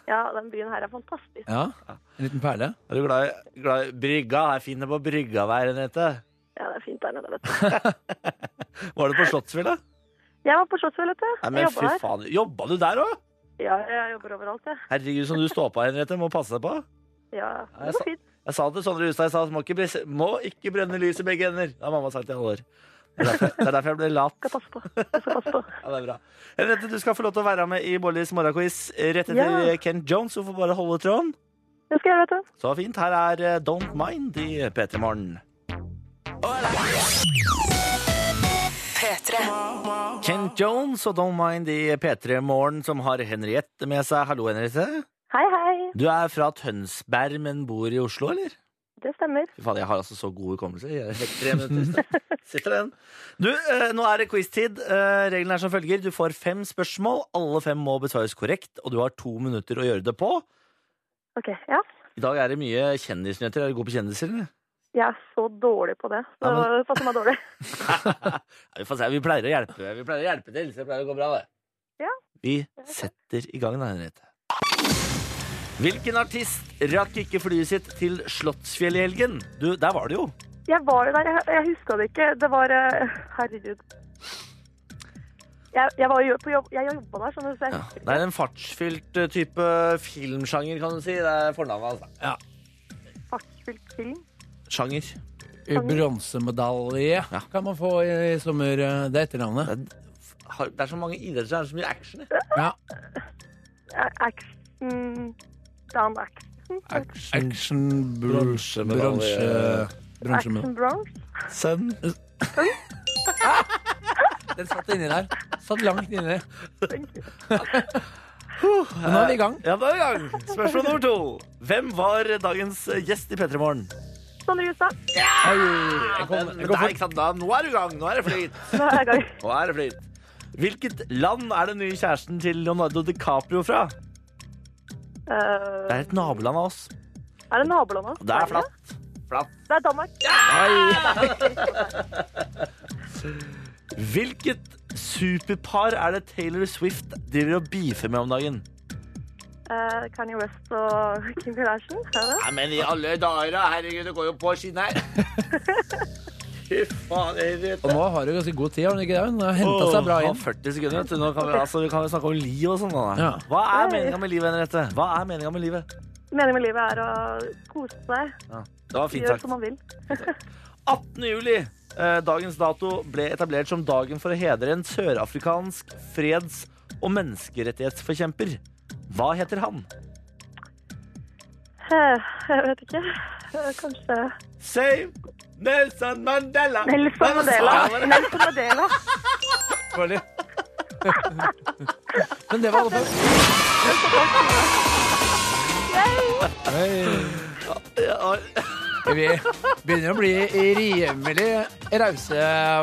Ja, den byen her er fantastisk. Ja, En liten perle. Er du glad i, glad i brygga? Jeg finner på brygga hver enhete. Ja, det er fint der nede, vet du. Var du på Slottsfjell, da? Jeg var på Slottsfjell, vet du. Nei, Jeg men jobba fy her. faen. Jobba du der òg? Ja, jeg jobber overalt, jeg. Herregud, som du står på, Henriette. Må passe deg på. Ja, Nei, det sa- går fint. Jeg sa til Sondre Hustad, jeg sa må ikke, bres- må ikke brenne lys i begge ender. Det har mamma sagt i alle år. Det er derfor, det er derfor jeg ble lat. Skal passe på. Jeg skal passe på. Ja, det er bra. Henriette, du skal få lov til å være med i Bollys morgenquiz rett etter Ja. Kent Jones. Du får bare holde tråden. Det skal jeg gjøre, vet du. Så fint. Her er eh, Don't Mind i P3 Morgen. Kent Jones og Don't Mind i P3 Morgen, som har Henriette med seg. Hallo, Henriette. Hei, hei. Du er fra Tønsberg, men bor i Oslo, eller? Det stemmer. Fy faen, jeg har altså så god hukommelse. Jeg er helt tre minutter. Sitter den. Du, eh, nå er det quiz-tid. Eh, Reglene er som følger. Du får fem spørsmål. Alle fem må besvares korrekt, og du har to minutter å gjøre det på. Ok, ja. I dag er det mye kjendisnyheter. Er du god på kjendiser, eller? Jeg er så dårlig på det. Så Ja, det passer meg dårlig. Nei, vi får se. Vi pleier å hjelpe, vi pleier å hjelpe til, så det pleier å gå bra, det. Ja. Vi setter i gang, da, Henriette. Hvilken artist rakk ikke flyet sitt til Slottsfjell i helgen? Du, der var det jo. Jeg var jo der, jeg, jeg huska det ikke. Det var eh, Herregud. Jeg, jeg var jo på jobb, jeg jobba der, skjønner du, så jeg husker Det er en fartsfylt eh, type filmsjanger, kan du si. Det er fornavnet, altså. ikke fartsfylt film. Sjanger. Bronsemedalje Ja. kan man få i, i sommer. eh, Det er etternavnet. Har- Det er så mange idretter, så er det så mye action. jeg. Ja. Eh, Action Dan Action. Action bronse Bronsemedalje. Bronsemedalje. Action Bronx. Sønn. Den satt inni der. Satt langt inni. Men nå er vi i gang. Ja, da er vi i gang. Spørsmål nummer to. Hvem var dagens gjest i P3 Morgen? Sondre Justad. Oi, jeg kom, jeg kom Der, for, ikke sant? Da, nå er du i gang. Nå er det flyt. Nå er jeg i gang. Nå er det flyt. Hvilket land er den nye kjæresten til Leonardo DiCaprio fra? Eh, Det er et naboland av oss. er det nabolandet? Det er flatt. Flatt. Det er Danmark. Hvilket superpar er det Taylor Swift driver og beefer med om dagen? Eh, Kanye West og Kim Kardashian. Er det? Nei, men i alle dager, herregud, det går jo på skinnet her. Fy faen, og nå har du ganske god tid, har hun ikke det? Hun har henta seg bra inn. 40 sekunder, vet du. Nå kan vi, altså, vi kan jo snakke om liv og sånn. da. Ja. Hva er meninga med livet, Henriette? Hva er meninga med livet? Meningen med livet er å kose seg. Ja. Det var fint Gjøre sagt. som man vil. 18. juli. eh, Dagens dato ble etablert som dagen for å hedre en sørafrikansk freds- og menneskerettighetsforkjemper. Hva heter han? Eh, jeg vet ikke. Eh, kanskje Save Nelson Mandela. Nelson Mandela. Nelson Mandela. Men det var i alle fall Ja, Vi begynner å bli rimelig rause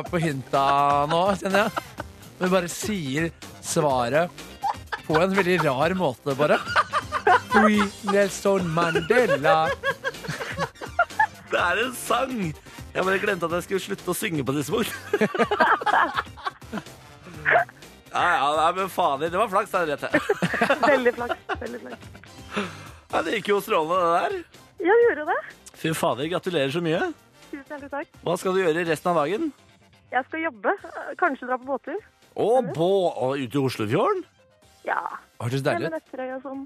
på hinta nå, kjenner jeg. Vi bare sier svaret på en veldig rar måte, bare. Free Nelson Mandela. Det er en sang. Jeg bare glemte at jeg skulle slutte å synge på disse bord. Ja, ja, nei, men fader. Det var flaks, Henriette. Veldig flaks. Veldig flaks. Ja, det gikk jo strålende, det der. Ja, gjorde det. Fy fader, gratulerer så mye. Tusen hjertelig takk. Hva skal du gjøre resten av dagen? Jeg skal jobbe. Eh, Kanskje dra på båttur. Å, bå, å, ut i Oslofjorden? Ja. Hørtes Ned deilig med ut. Nøtterøy og sånn.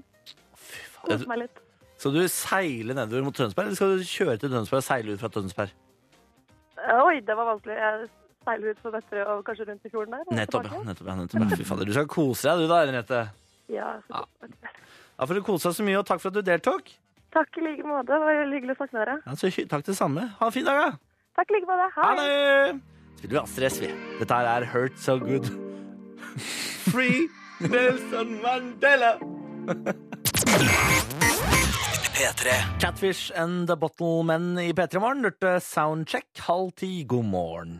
Kose meg litt. Skal du seile nedover mot Tønsberg, eller skal du kjøre til Tønsberg og seile ut fra Tønsberg? Eh, Oi, det var vanskelig. Jeg seiler ut på Nøtterøy og kanskje rundt i fjorden der. og Nettopp, ja. tilbake. nettopp, ja, nettopp. ja. Fy fader, du skal kose deg, du da, Henriette. ja. så- Ja, for du koste deg så mye, og takk for at du deltok. Takk i like måte. Det var veldig hyggelig å snakke med dere. Ja, så, hy- takk det samme. Ha en fin dag, da. Takk i like måte. Ha det! Spiller vi Astrid S, vi. Dette her er Hurt So Good. Free Nelson Mandela! P3. Catfish and The Bottlemen i P3 Morgen lurte soundcheck halv ti. God morgen.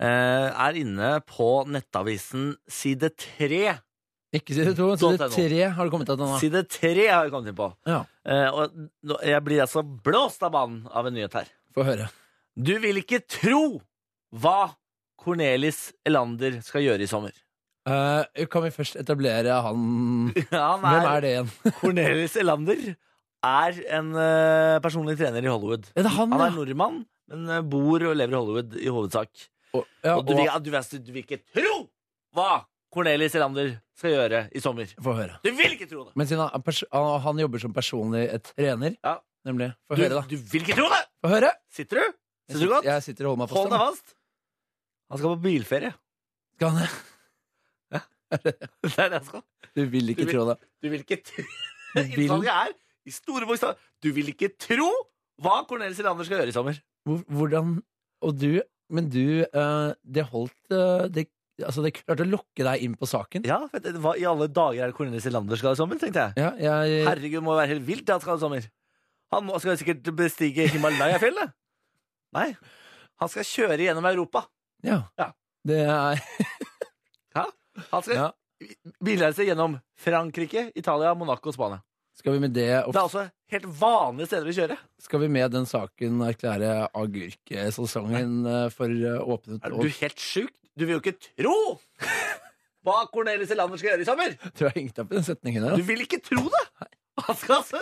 Eh, er inne på nettavisen side tre. Ikke side to, side tre har det kommet til nå. Side tre har jeg kommet inn på. Ja, Eh, og nå- jeg blir altså blåst av banen av en nyhet her. Få høre. Du vil ikke tro hva Cornelis Elander skal gjøre i sommer. Eh, kan vi først etablere han Ja, han Hvem er det igjen? Cornelis Elander er en eh, personlig trener i Hollywood. Er det han, Han ja? er nordmann, men eh, bor og lever i Hollywood i hovedsak. Og, ja, Og du, vil, og, ja, du, vet- du vil ikke tro hva Cornelis Elander skal gjøre i sommer. få høre. Du vil ikke tro det! Men siden han, er pers- han, han jobber som personlig trener, Ja. nemlig Få Du, høre, da. du vil ikke tro det! Få høre! Sitter du? Jeg Sitter du sit- godt? Jeg sitter og holder meg Hold deg fast. fast. Han skal på bilferie. Skal han det? Det er det han skal. Du vil ikke Du vil- tro det. Du vil ikke tro vil- Innsalget er i store bokstaver. Du vil ikke tro hva Cornelis Elander skal gjøre i sommer. Hvor- Hvordan Og du, men du, eh, det holdt eh, det, Altså, det klarte å lokke deg inn på saken. Ja, vet du, Hva i alle dager er det Cornelis Elander skal ha i sommer, tenkte jeg. Ja, jeg Herregud, det må være helt vilt det han skal ha i sommer. Han må, skal sikkert bestige Himalaya-fjellet. Nei. Han skal kjøre gjennom Europa. Ja. Ja. Det er Han skal Ja. bilreise gjennom Frankrike, Italia, Monaco og Spania. Skal vi med det Det er altså helt vanlige steder å kjøre. Skal vi med den saken erklære agurkesesongen eh, for eh, åpnet Er og du helt sjuk? Du vil jo ikke tro hva Cornelis Elander skal gjøre i sommer! Du har hengt opp i den setningen her. Du altså. vil ikke tro det! Han skal altså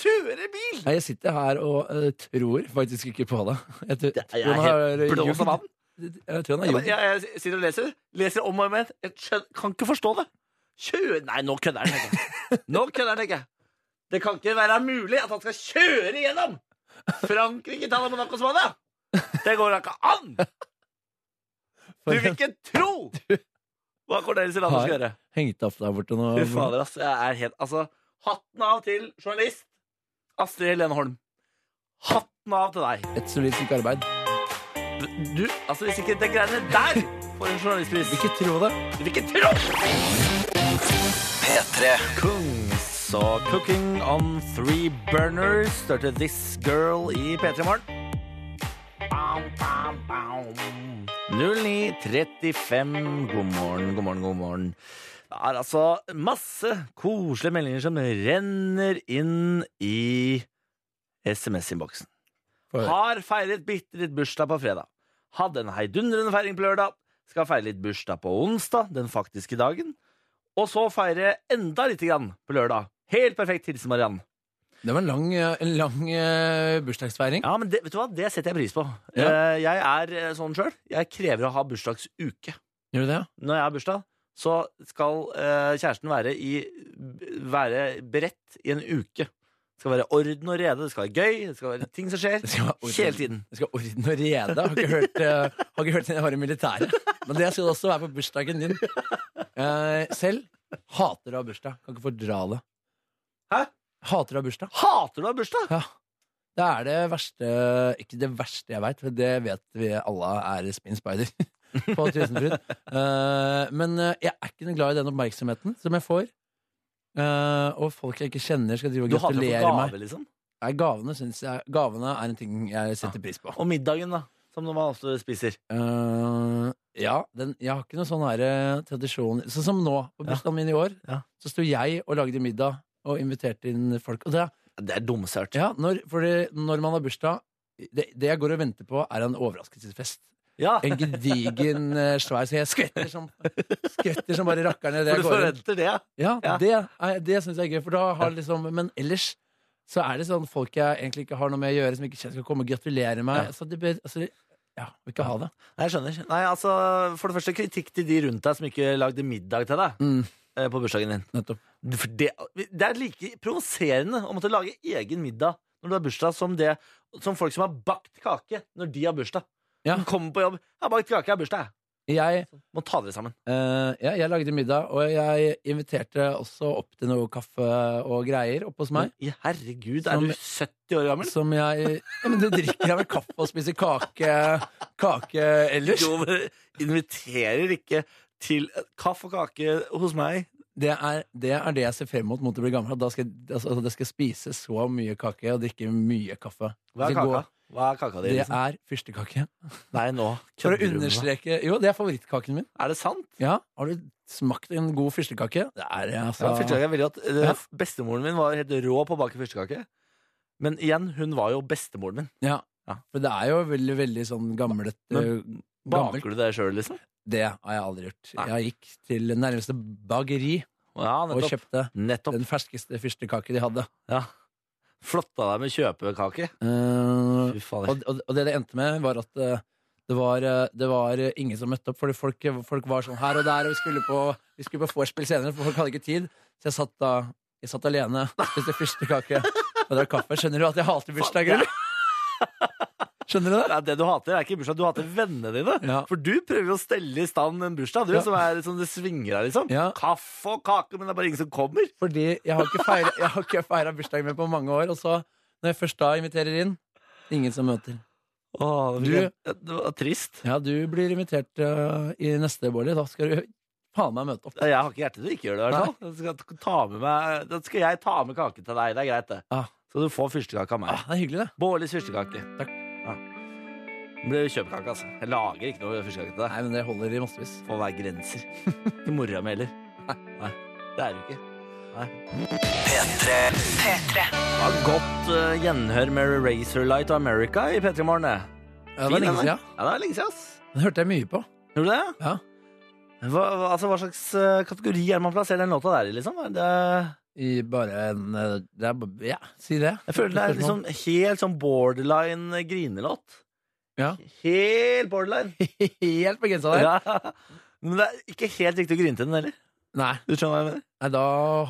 kjøre bil! Nei, jeg sitter her og eh, tror faktisk ikke på det. Jeg, tror, Jeg tror er han har, eh, helt blåst av ljugd. vann. Jeg tror han har Jeg, jugd. jeg, jeg sitter og leser. Leser om og om igjen. Jeg skjøn- kan ikke forstå det. Kjøre Nei, nå kødder han, tenker jeg. Nå kødder han, tenker jeg. Det kan ikke være mulig at han skal kjøre gjennom Frankrike, Italia, Monaco og Spania! Det går da ikke an! Du vil ikke tro hva Cornelis Elander skal gjøre. Hengt opp der borte nå. Fy fader, ass. Jeg er helt Altså, hatten av til journalist Astrid Helene Holm. Hatten av til deg. Et solid stykke arbeid. Du, altså, hvis ikke det greiene der får en journalistpris Ikke tro det. Du vil ikke tro! P3. Kungs og Cooking on Three Burners starter This Girl i P3 Morgen. 09.35. God morgen, god morgen, god morgen. Det er altså masse koselige meldinger som renner inn i SMS-innboksen. For, Har feiret bitte litt bursdag på fredag. Hadde en heidundrende feiring på lørdag. Skal feire litt bursdag på onsdag, den faktiske dagen. Og så feire enda lite grann på lørdag. Helt perfekt. Hilsen Mariann. det var en lang, eh, en lang eh, bursdagsfeiring. Ja, men det, vet du hva? Det setter jeg pris på. Ja. Eh, Jeg er eh, sånn sjøl. Jeg krever å ha bursdagsuke. Gjør du det? Når jeg har bursdag, så skal eh, kjæresten være, i, være beredt i en uke. Det skal være orden og rede, det skal være gøy, det skal være ting som skjer. Det skal være orden. Hele tiden. Jeg skal ha orden og rede. Har ikke hørt, eh, har ikke hørt siden jeg var i militæret. Men det skal det også være på bursdagen din. Eh, selv hater å ha bursdag. Kan ikke fordra det. Hæ? Hater å ha bursdag. Hater du å ha bursdag? Ja. Det er det verste Ikke det verste jeg veit, for det vet vi alle er spinn spider på Tusenfryd. Eh, men eh, jeg er ikke noe glad i den oppmerksomheten som jeg får. Eh, og folk jeg ikke kjenner, skal drive og Du hater å få gratulere meg. gave, liksom? Nei, gavene, synes jeg, gavene er en ting jeg setter pris på. Og middagen, da. Som man ofte spiser. Eh, ja, den, jeg har ikke noen sånn her eh, tradisjon Sånn som nå, på bursdagen min i år, Ja. så sto jeg og lagde middag og inviterte inn folk. Og det, Det er dumsørt. ja, når, fordi når man har bursdag det, det jeg går og venter på, er en overraskelsesfest. Ja, En gedigen eh, svær Så jeg skvetter som, skvetter som bare rakkerne. for du forventer det. ja. Ja, Ja. det, er- det syns jeg er gøy. For da har liksom, men ellers så er det sånn folk jeg egentlig ikke har noe med å gjøre, som ikke skal komme og gratulere meg. Ja. Så det bør, altså, ja, vil ikke ha det. Nei, jeg skjønner. Nei, altså, For det første, kritikk til de rundt deg som ikke lagde middag til deg Mm. eh, på bursdagen din. Nettopp. For det, det er like provoserende å måtte lage egen middag når du har bursdag, som, det, som folk som har bakt kake når de har bursdag. Ja. Som kommer på jobb. 'Jeg har bakt kake, jeg har bursdag', jeg. Jeg, Må ta dere sammen. eh, ja, jeg lagde middag, og jeg inviterte også opp til noe kaffe og greier oppe hos meg. I herregud, Som- er du 70 år gammel? Som jeg ja, Men det drikker jeg vel kaffe og spiser kake Kake ellers? Jo, men inviterer ikke til kaffe og kake hos meg. Det er, det er det jeg ser frem mot mot å bli gammel. at Da skal, jeg- altså, det skal jeg spise så mye kake og drikke mye kaffe. Hva er Jeg skal kaka? gå- Hva er kaka di? Det liksom? er fyrstekake. Nei, nå For kødder å du med meg. understreke Jo, det er favorittkaken min. Er det sant? Ja, Har du smakt en god fyrstekake? Det er det, Ja, altså. fyrstekake er veldig godt. Eh, Ja. Bestemoren min var helt rå på å bake fyrstekake. Men igjen, hun var jo bestemoren min. Ja. Ja. For det er jo veldig veldig sånn gamlet Men- eh, Gammelt. Baker du det sjøl, liksom? Det har jeg aldri gjort. Nei. Jeg gikk til nærmeste bakeri Ja, og nettopp. kjøpte nettopp. den ferskeste fyrstekake de hadde. Ja. Flotta deg med kjøpekake. Eh, Fy fader. Og, og, og det det endte med, var at eh, det var, eh, det var eh, ingen som møtte opp. Fordi folk, folk var sånn her og der, og vi skulle på, vi skulle på vorspiel senere, for folk hadde ikke tid. Så jeg satt da jeg satt alene, spiste fyrstekake og drakk kaffe. Skjønner du at jeg hater bursdager, eller? Skjønner du det? Nei, det du hater, er ikke bursdag, du hater vennene dine. Ja. For du prøver jo å stelle i stand en bursdag, du, Ja. som er som det svinger av, liksom. Ja. Kaffe og kake, men det er bare ingen som kommer. Fordi jeg har ikke feira- jeg har ikke feira bursdagen min på mange år, og så, når jeg først da inviterer inn Ingen som møter. Åh, Du- det var- det var trist. Ja, du blir invitert eh, i neste Bårdli. Da skal du faen meg møte opp. Jeg har ikke hjerte til å ikke gjøre det. i hvert fall. Jeg skal ta med meg- Da skal jeg ta med kake til deg. Det er greit, det. Ah. Så du får fyrstekake av meg. Ah, det er hyggelig, det. Bårlis fyrstekake. Takk. Ja. Det blir kjøpekake, altså. Jeg lager ikke noe fyrstekake til deg. Nei, men det holder i massevis. Det får være grenser. Ikke mora mi heller. Nei. Det er du ikke. Nei. Det var godt eh, gjenhør med Razorlight of America i P3 Morgen. det. Ja, det Fin, var lenge den, da. siden. Ja, det var lenge siden, ass. Den hørte jeg mye på. Gjorde du det? Ja. Hva, hva- altså, hva slags eh, kategori er det man plasserer den låta der i, liksom? Er Det, I bare en eh, det er, bare- Ja, si det. jeg føler det er liksom helt sånn borderline grinelåt. Ja. Helt borderline. Helt på grensa der. Ja. Men det er ikke helt riktig å grine til den heller. Nei, Du skjønner hva jeg mener? nei, da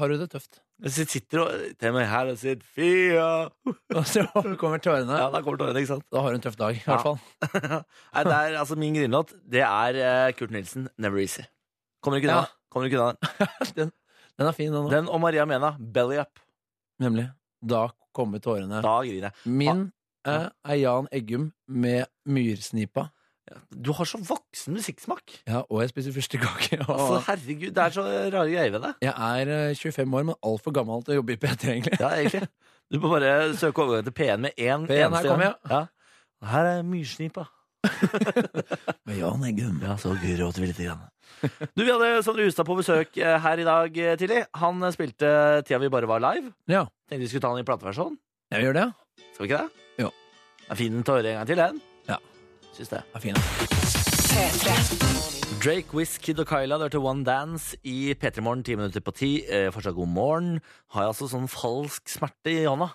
har du det tøft. Jeg sitter og til og med her og sier Fia! Og så kommer tårene. Ja, da kommer tårene, ikke sant? Altså, Da har du en tøff dag, i Ja. hvert fall. Nei, det er, altså, min grinelåt, det er eh, Kurt Nilsen, 'Never Easy'. Kommer ikke unna. Ja. Kommer ikke unna. Den, den er fin, den òg. Den og Maria Mena, 'Belly Up'. Nemlig. Da kommer tårene. Da griner jeg. Min eh, er Jan Eggum med myrsnipa. Du har så voksen musikksmak. Ja, og jeg spiser fyrstekake. og- Altså, herregud, det er så rare greier ved det. Jeg er eh, 25 år, men altfor gammel til å jobbe i P3, egentlig. Ja, egentlig. Du må bare søke overgang til P1 med én P1, her eneste kommer gang. Ja. Her er myrsnipa. Men Jan Eggum Ja, så gråter vi litt. Grann. Du, Vi hadde Sondre Hustad på besøk eh, her i dag eh, tidlig. Han eh, spilte Tida vi bare var live. Ja, Tenkte vi skulle ta den i plateversjon. jeg gjør det. ja. Skal vi ikke det? Jo. Det er fin tåre en gang til, den. Ja. Syns det. Det er fin. da. Drake, Wiz, Kid og Kyla det hørte One Dance i P3 Morgen ti minutter på ti. Eh, fortsatt god morgen. Har jeg altså sånn falsk smerte i hånda?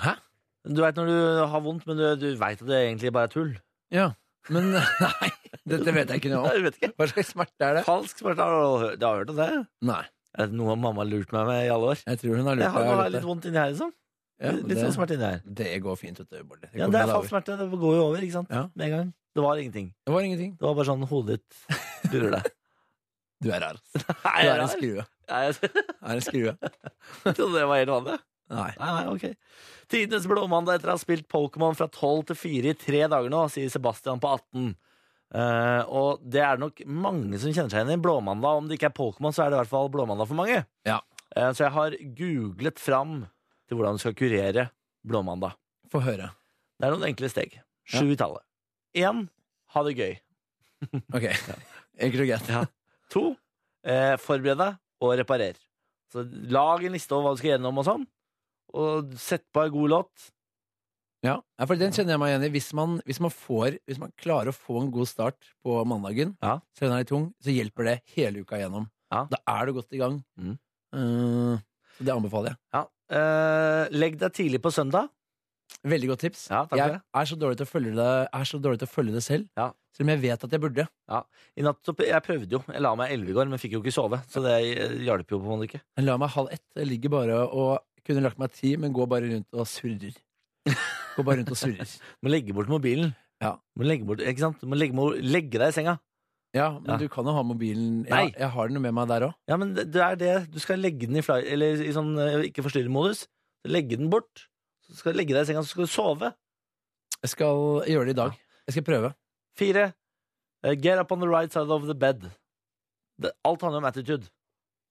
Hæ? Du veit når du har vondt, men du, du veit at det egentlig bare er tull. Ja. Men nei, dette vet jeg ikke noe om. Jeg vet ikke. Hva slags smerte er det? Falsk smerte, har du, har du hørt om det? Nei, Er det noe mamma har lurt meg med i alle år? jeg tror hun har Jeg lurt har, deg. nå har litt jeg der. litt vondt inni her, liksom. Ja, litt sånn det, smerte inni her. det går fint, vet du, Bård. Ja, går det bra er dager. falsk smerte. Det går jo over, ikke sant? Ja. Med en gang. Det var ingenting. Det var ingenting. Det var bare sånn hodet ditt lurer deg. Du er rar. ass. Nei, Du jeg er en rar. skrue. Nei, jeg Er en skrue. trodde det var helt vanlig. Nei. Nei, nei, ok. Tidenes blåmandag etter å ha spilt Pokémon fra 12 til 4 i tre dager nå, sier Sebastian på 18. Eh, og det er nok mange som kjenner seg igjen i blåmandag. Om det ikke er Pokémon, så er det i hvert fall blåmandag for mange. Ja. Eh, så jeg har googlet fram til hvordan du skal kurere blåmandag. Få høre. Det er noen enkle steg. Sju i tallet. Én ha det gøy. Ok. Enkelt og greit. To, eh, forbered deg og reparer. Så lag en liste over hva du skal gjennom og sånn, og sett på en god låt. Ja, ja, for den kjenner jeg meg igjen i. Hvis man, hvis, man får, hvis man klarer å få en god start på mandagen, Ja. selv om den er litt tung, så hjelper det hele uka igjennom. Ja. Da er du godt i gang. Mm. Eh, så det anbefaler jeg. Ja. Eh, legg deg tidlig på søndag. Veldig godt tips. Ja, takk for jeg det. er så dårlig til å følge det, er så dårlig til å følge det selv, Ja. selv om jeg vet at jeg burde. I natt så, jeg prøvde jo. Jeg la meg elleve i går, men fikk jo ikke sove. Så det eh, hjalp jo på en måte ikke. Jeg la meg halv ett. Jeg ligger bare og kunne lagt meg ti, men går bare rundt og surrer. Går bare rundt og surrer. Må legge bort mobilen. Ja. Må legge bort, ikke sant? Må legge, mo- legge deg i senga. Ja, men Ja. du kan jo ha mobilen Nei. Jeg, jeg har den jo med meg der òg. Ja, men det, det er det. Du skal legge den i, fly, eller i sånn eh, ikke forstyrre-modus. Legge den bort. Så skal du legge deg i senga, så skal du sove. Jeg skal gjøre det i dag. Jeg skal prøve. Fire. eh, Get up on the right side of the bed. Det, alt handler om attitude.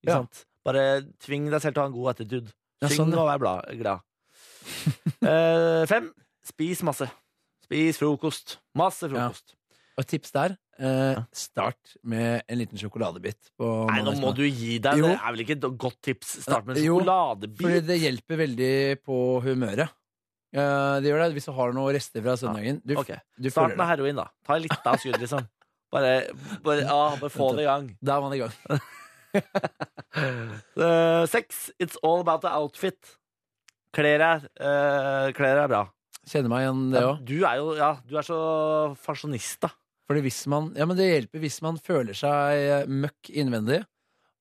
Ikke Ja. sant? Bare tving deg selv til å ha en god attitude. Ja, Syng sånn, ja. og vær bla, glad. Eh, fem. Spis masse. Spis frokost. Masse frokost. Og et tips der eh, Start med en liten sjokoladebit. På Nei, nå må mandagsmat. du gi deg. Jo. Eh, Det er vel ikke et godt tips. Start med en Jo, Fordi sjokoladebit. det hjelper veldig på humøret. Eh, det gjør det hvis du har noe rester fra søndagen. Du, Ok, du Start føler med det. heroin, da. Ta litt av skuddet, liksom. Bare, bare, ah, bare få det i gang. Da er man i gang. Eh, Seks. It's all about the outfit. Kler deg eh, kler deg bra. Kjenner meg igjen det Ja, òg. Du er jo ja, du er så fasjonist, da. Fordi hvis man, ja, men det hjelper hvis man føler seg møkk innvendig.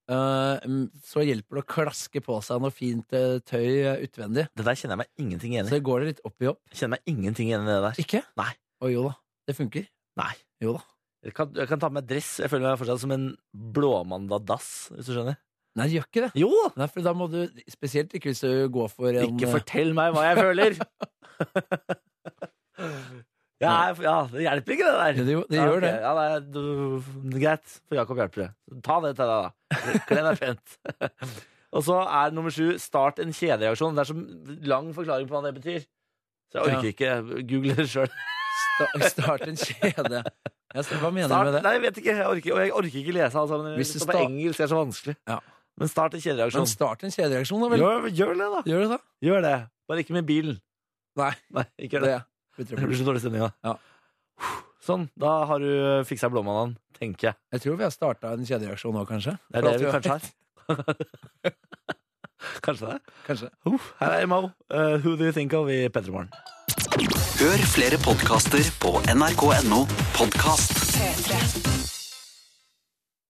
eh, m- så hjelper det å klaske på seg noe fint eh, tøy eh, utvendig. Det der kjenner jeg meg ingenting igjen i. Så går det litt opp i opp. Jeg Kjenner meg ingenting igjen i det der. Ikke? Nei. Å jo da. Det funker. Nei. Jo da. Jeg kan, jeg kan ta på meg dress. Jeg føler meg fortsatt som en blåmandag-dass, hvis du skjønner. Nei, det gjør ikke det. Jo! Nei, for da må du, Spesielt ikke hvis du går for en Ikke fortell meg hva jeg føler! Ja, nei, ja, det hjelper ikke, det der. Det, jo, det Ja, gjør ok. det. Ja, nei, du, det er greit, for Jakob hjelper det. Ta det til deg, da. Kle deg pent. Og så er nummer sju start en kjedereaksjon. Det er så lang forklaring på hva det betyr. Så jeg orker ikke. Google det sjøl. Sta- Start en kjede. Jeg ser- Hva mener du med det? Nei, jeg vet ikke. Jeg orker, og jeg orker ikke lese alle sammen. Hvis Det det står på sta- engelsk, det er så vanskelig. Ja. Men start en Men kjedereaksjon. start en kjedereaksjon, da vel. Gjør, gjør det, da. Gjør det, da. Gjør det. Bare ikke med bilen. Nei, Nei, ikke gjør det. det Det blir så dårlig stemning, da. Ja. Sånn. Da har du fiksa blåmandagen, tenker jeg. Jeg tror vi har starta en kjedereaksjon nå, kanskje. Det er det vi kanskje har. kanskje det. Kanskje. Uff, her er Mo. Uh, who do you think of i P3 Morgen? Hør flere podkaster på nrk.no podkast.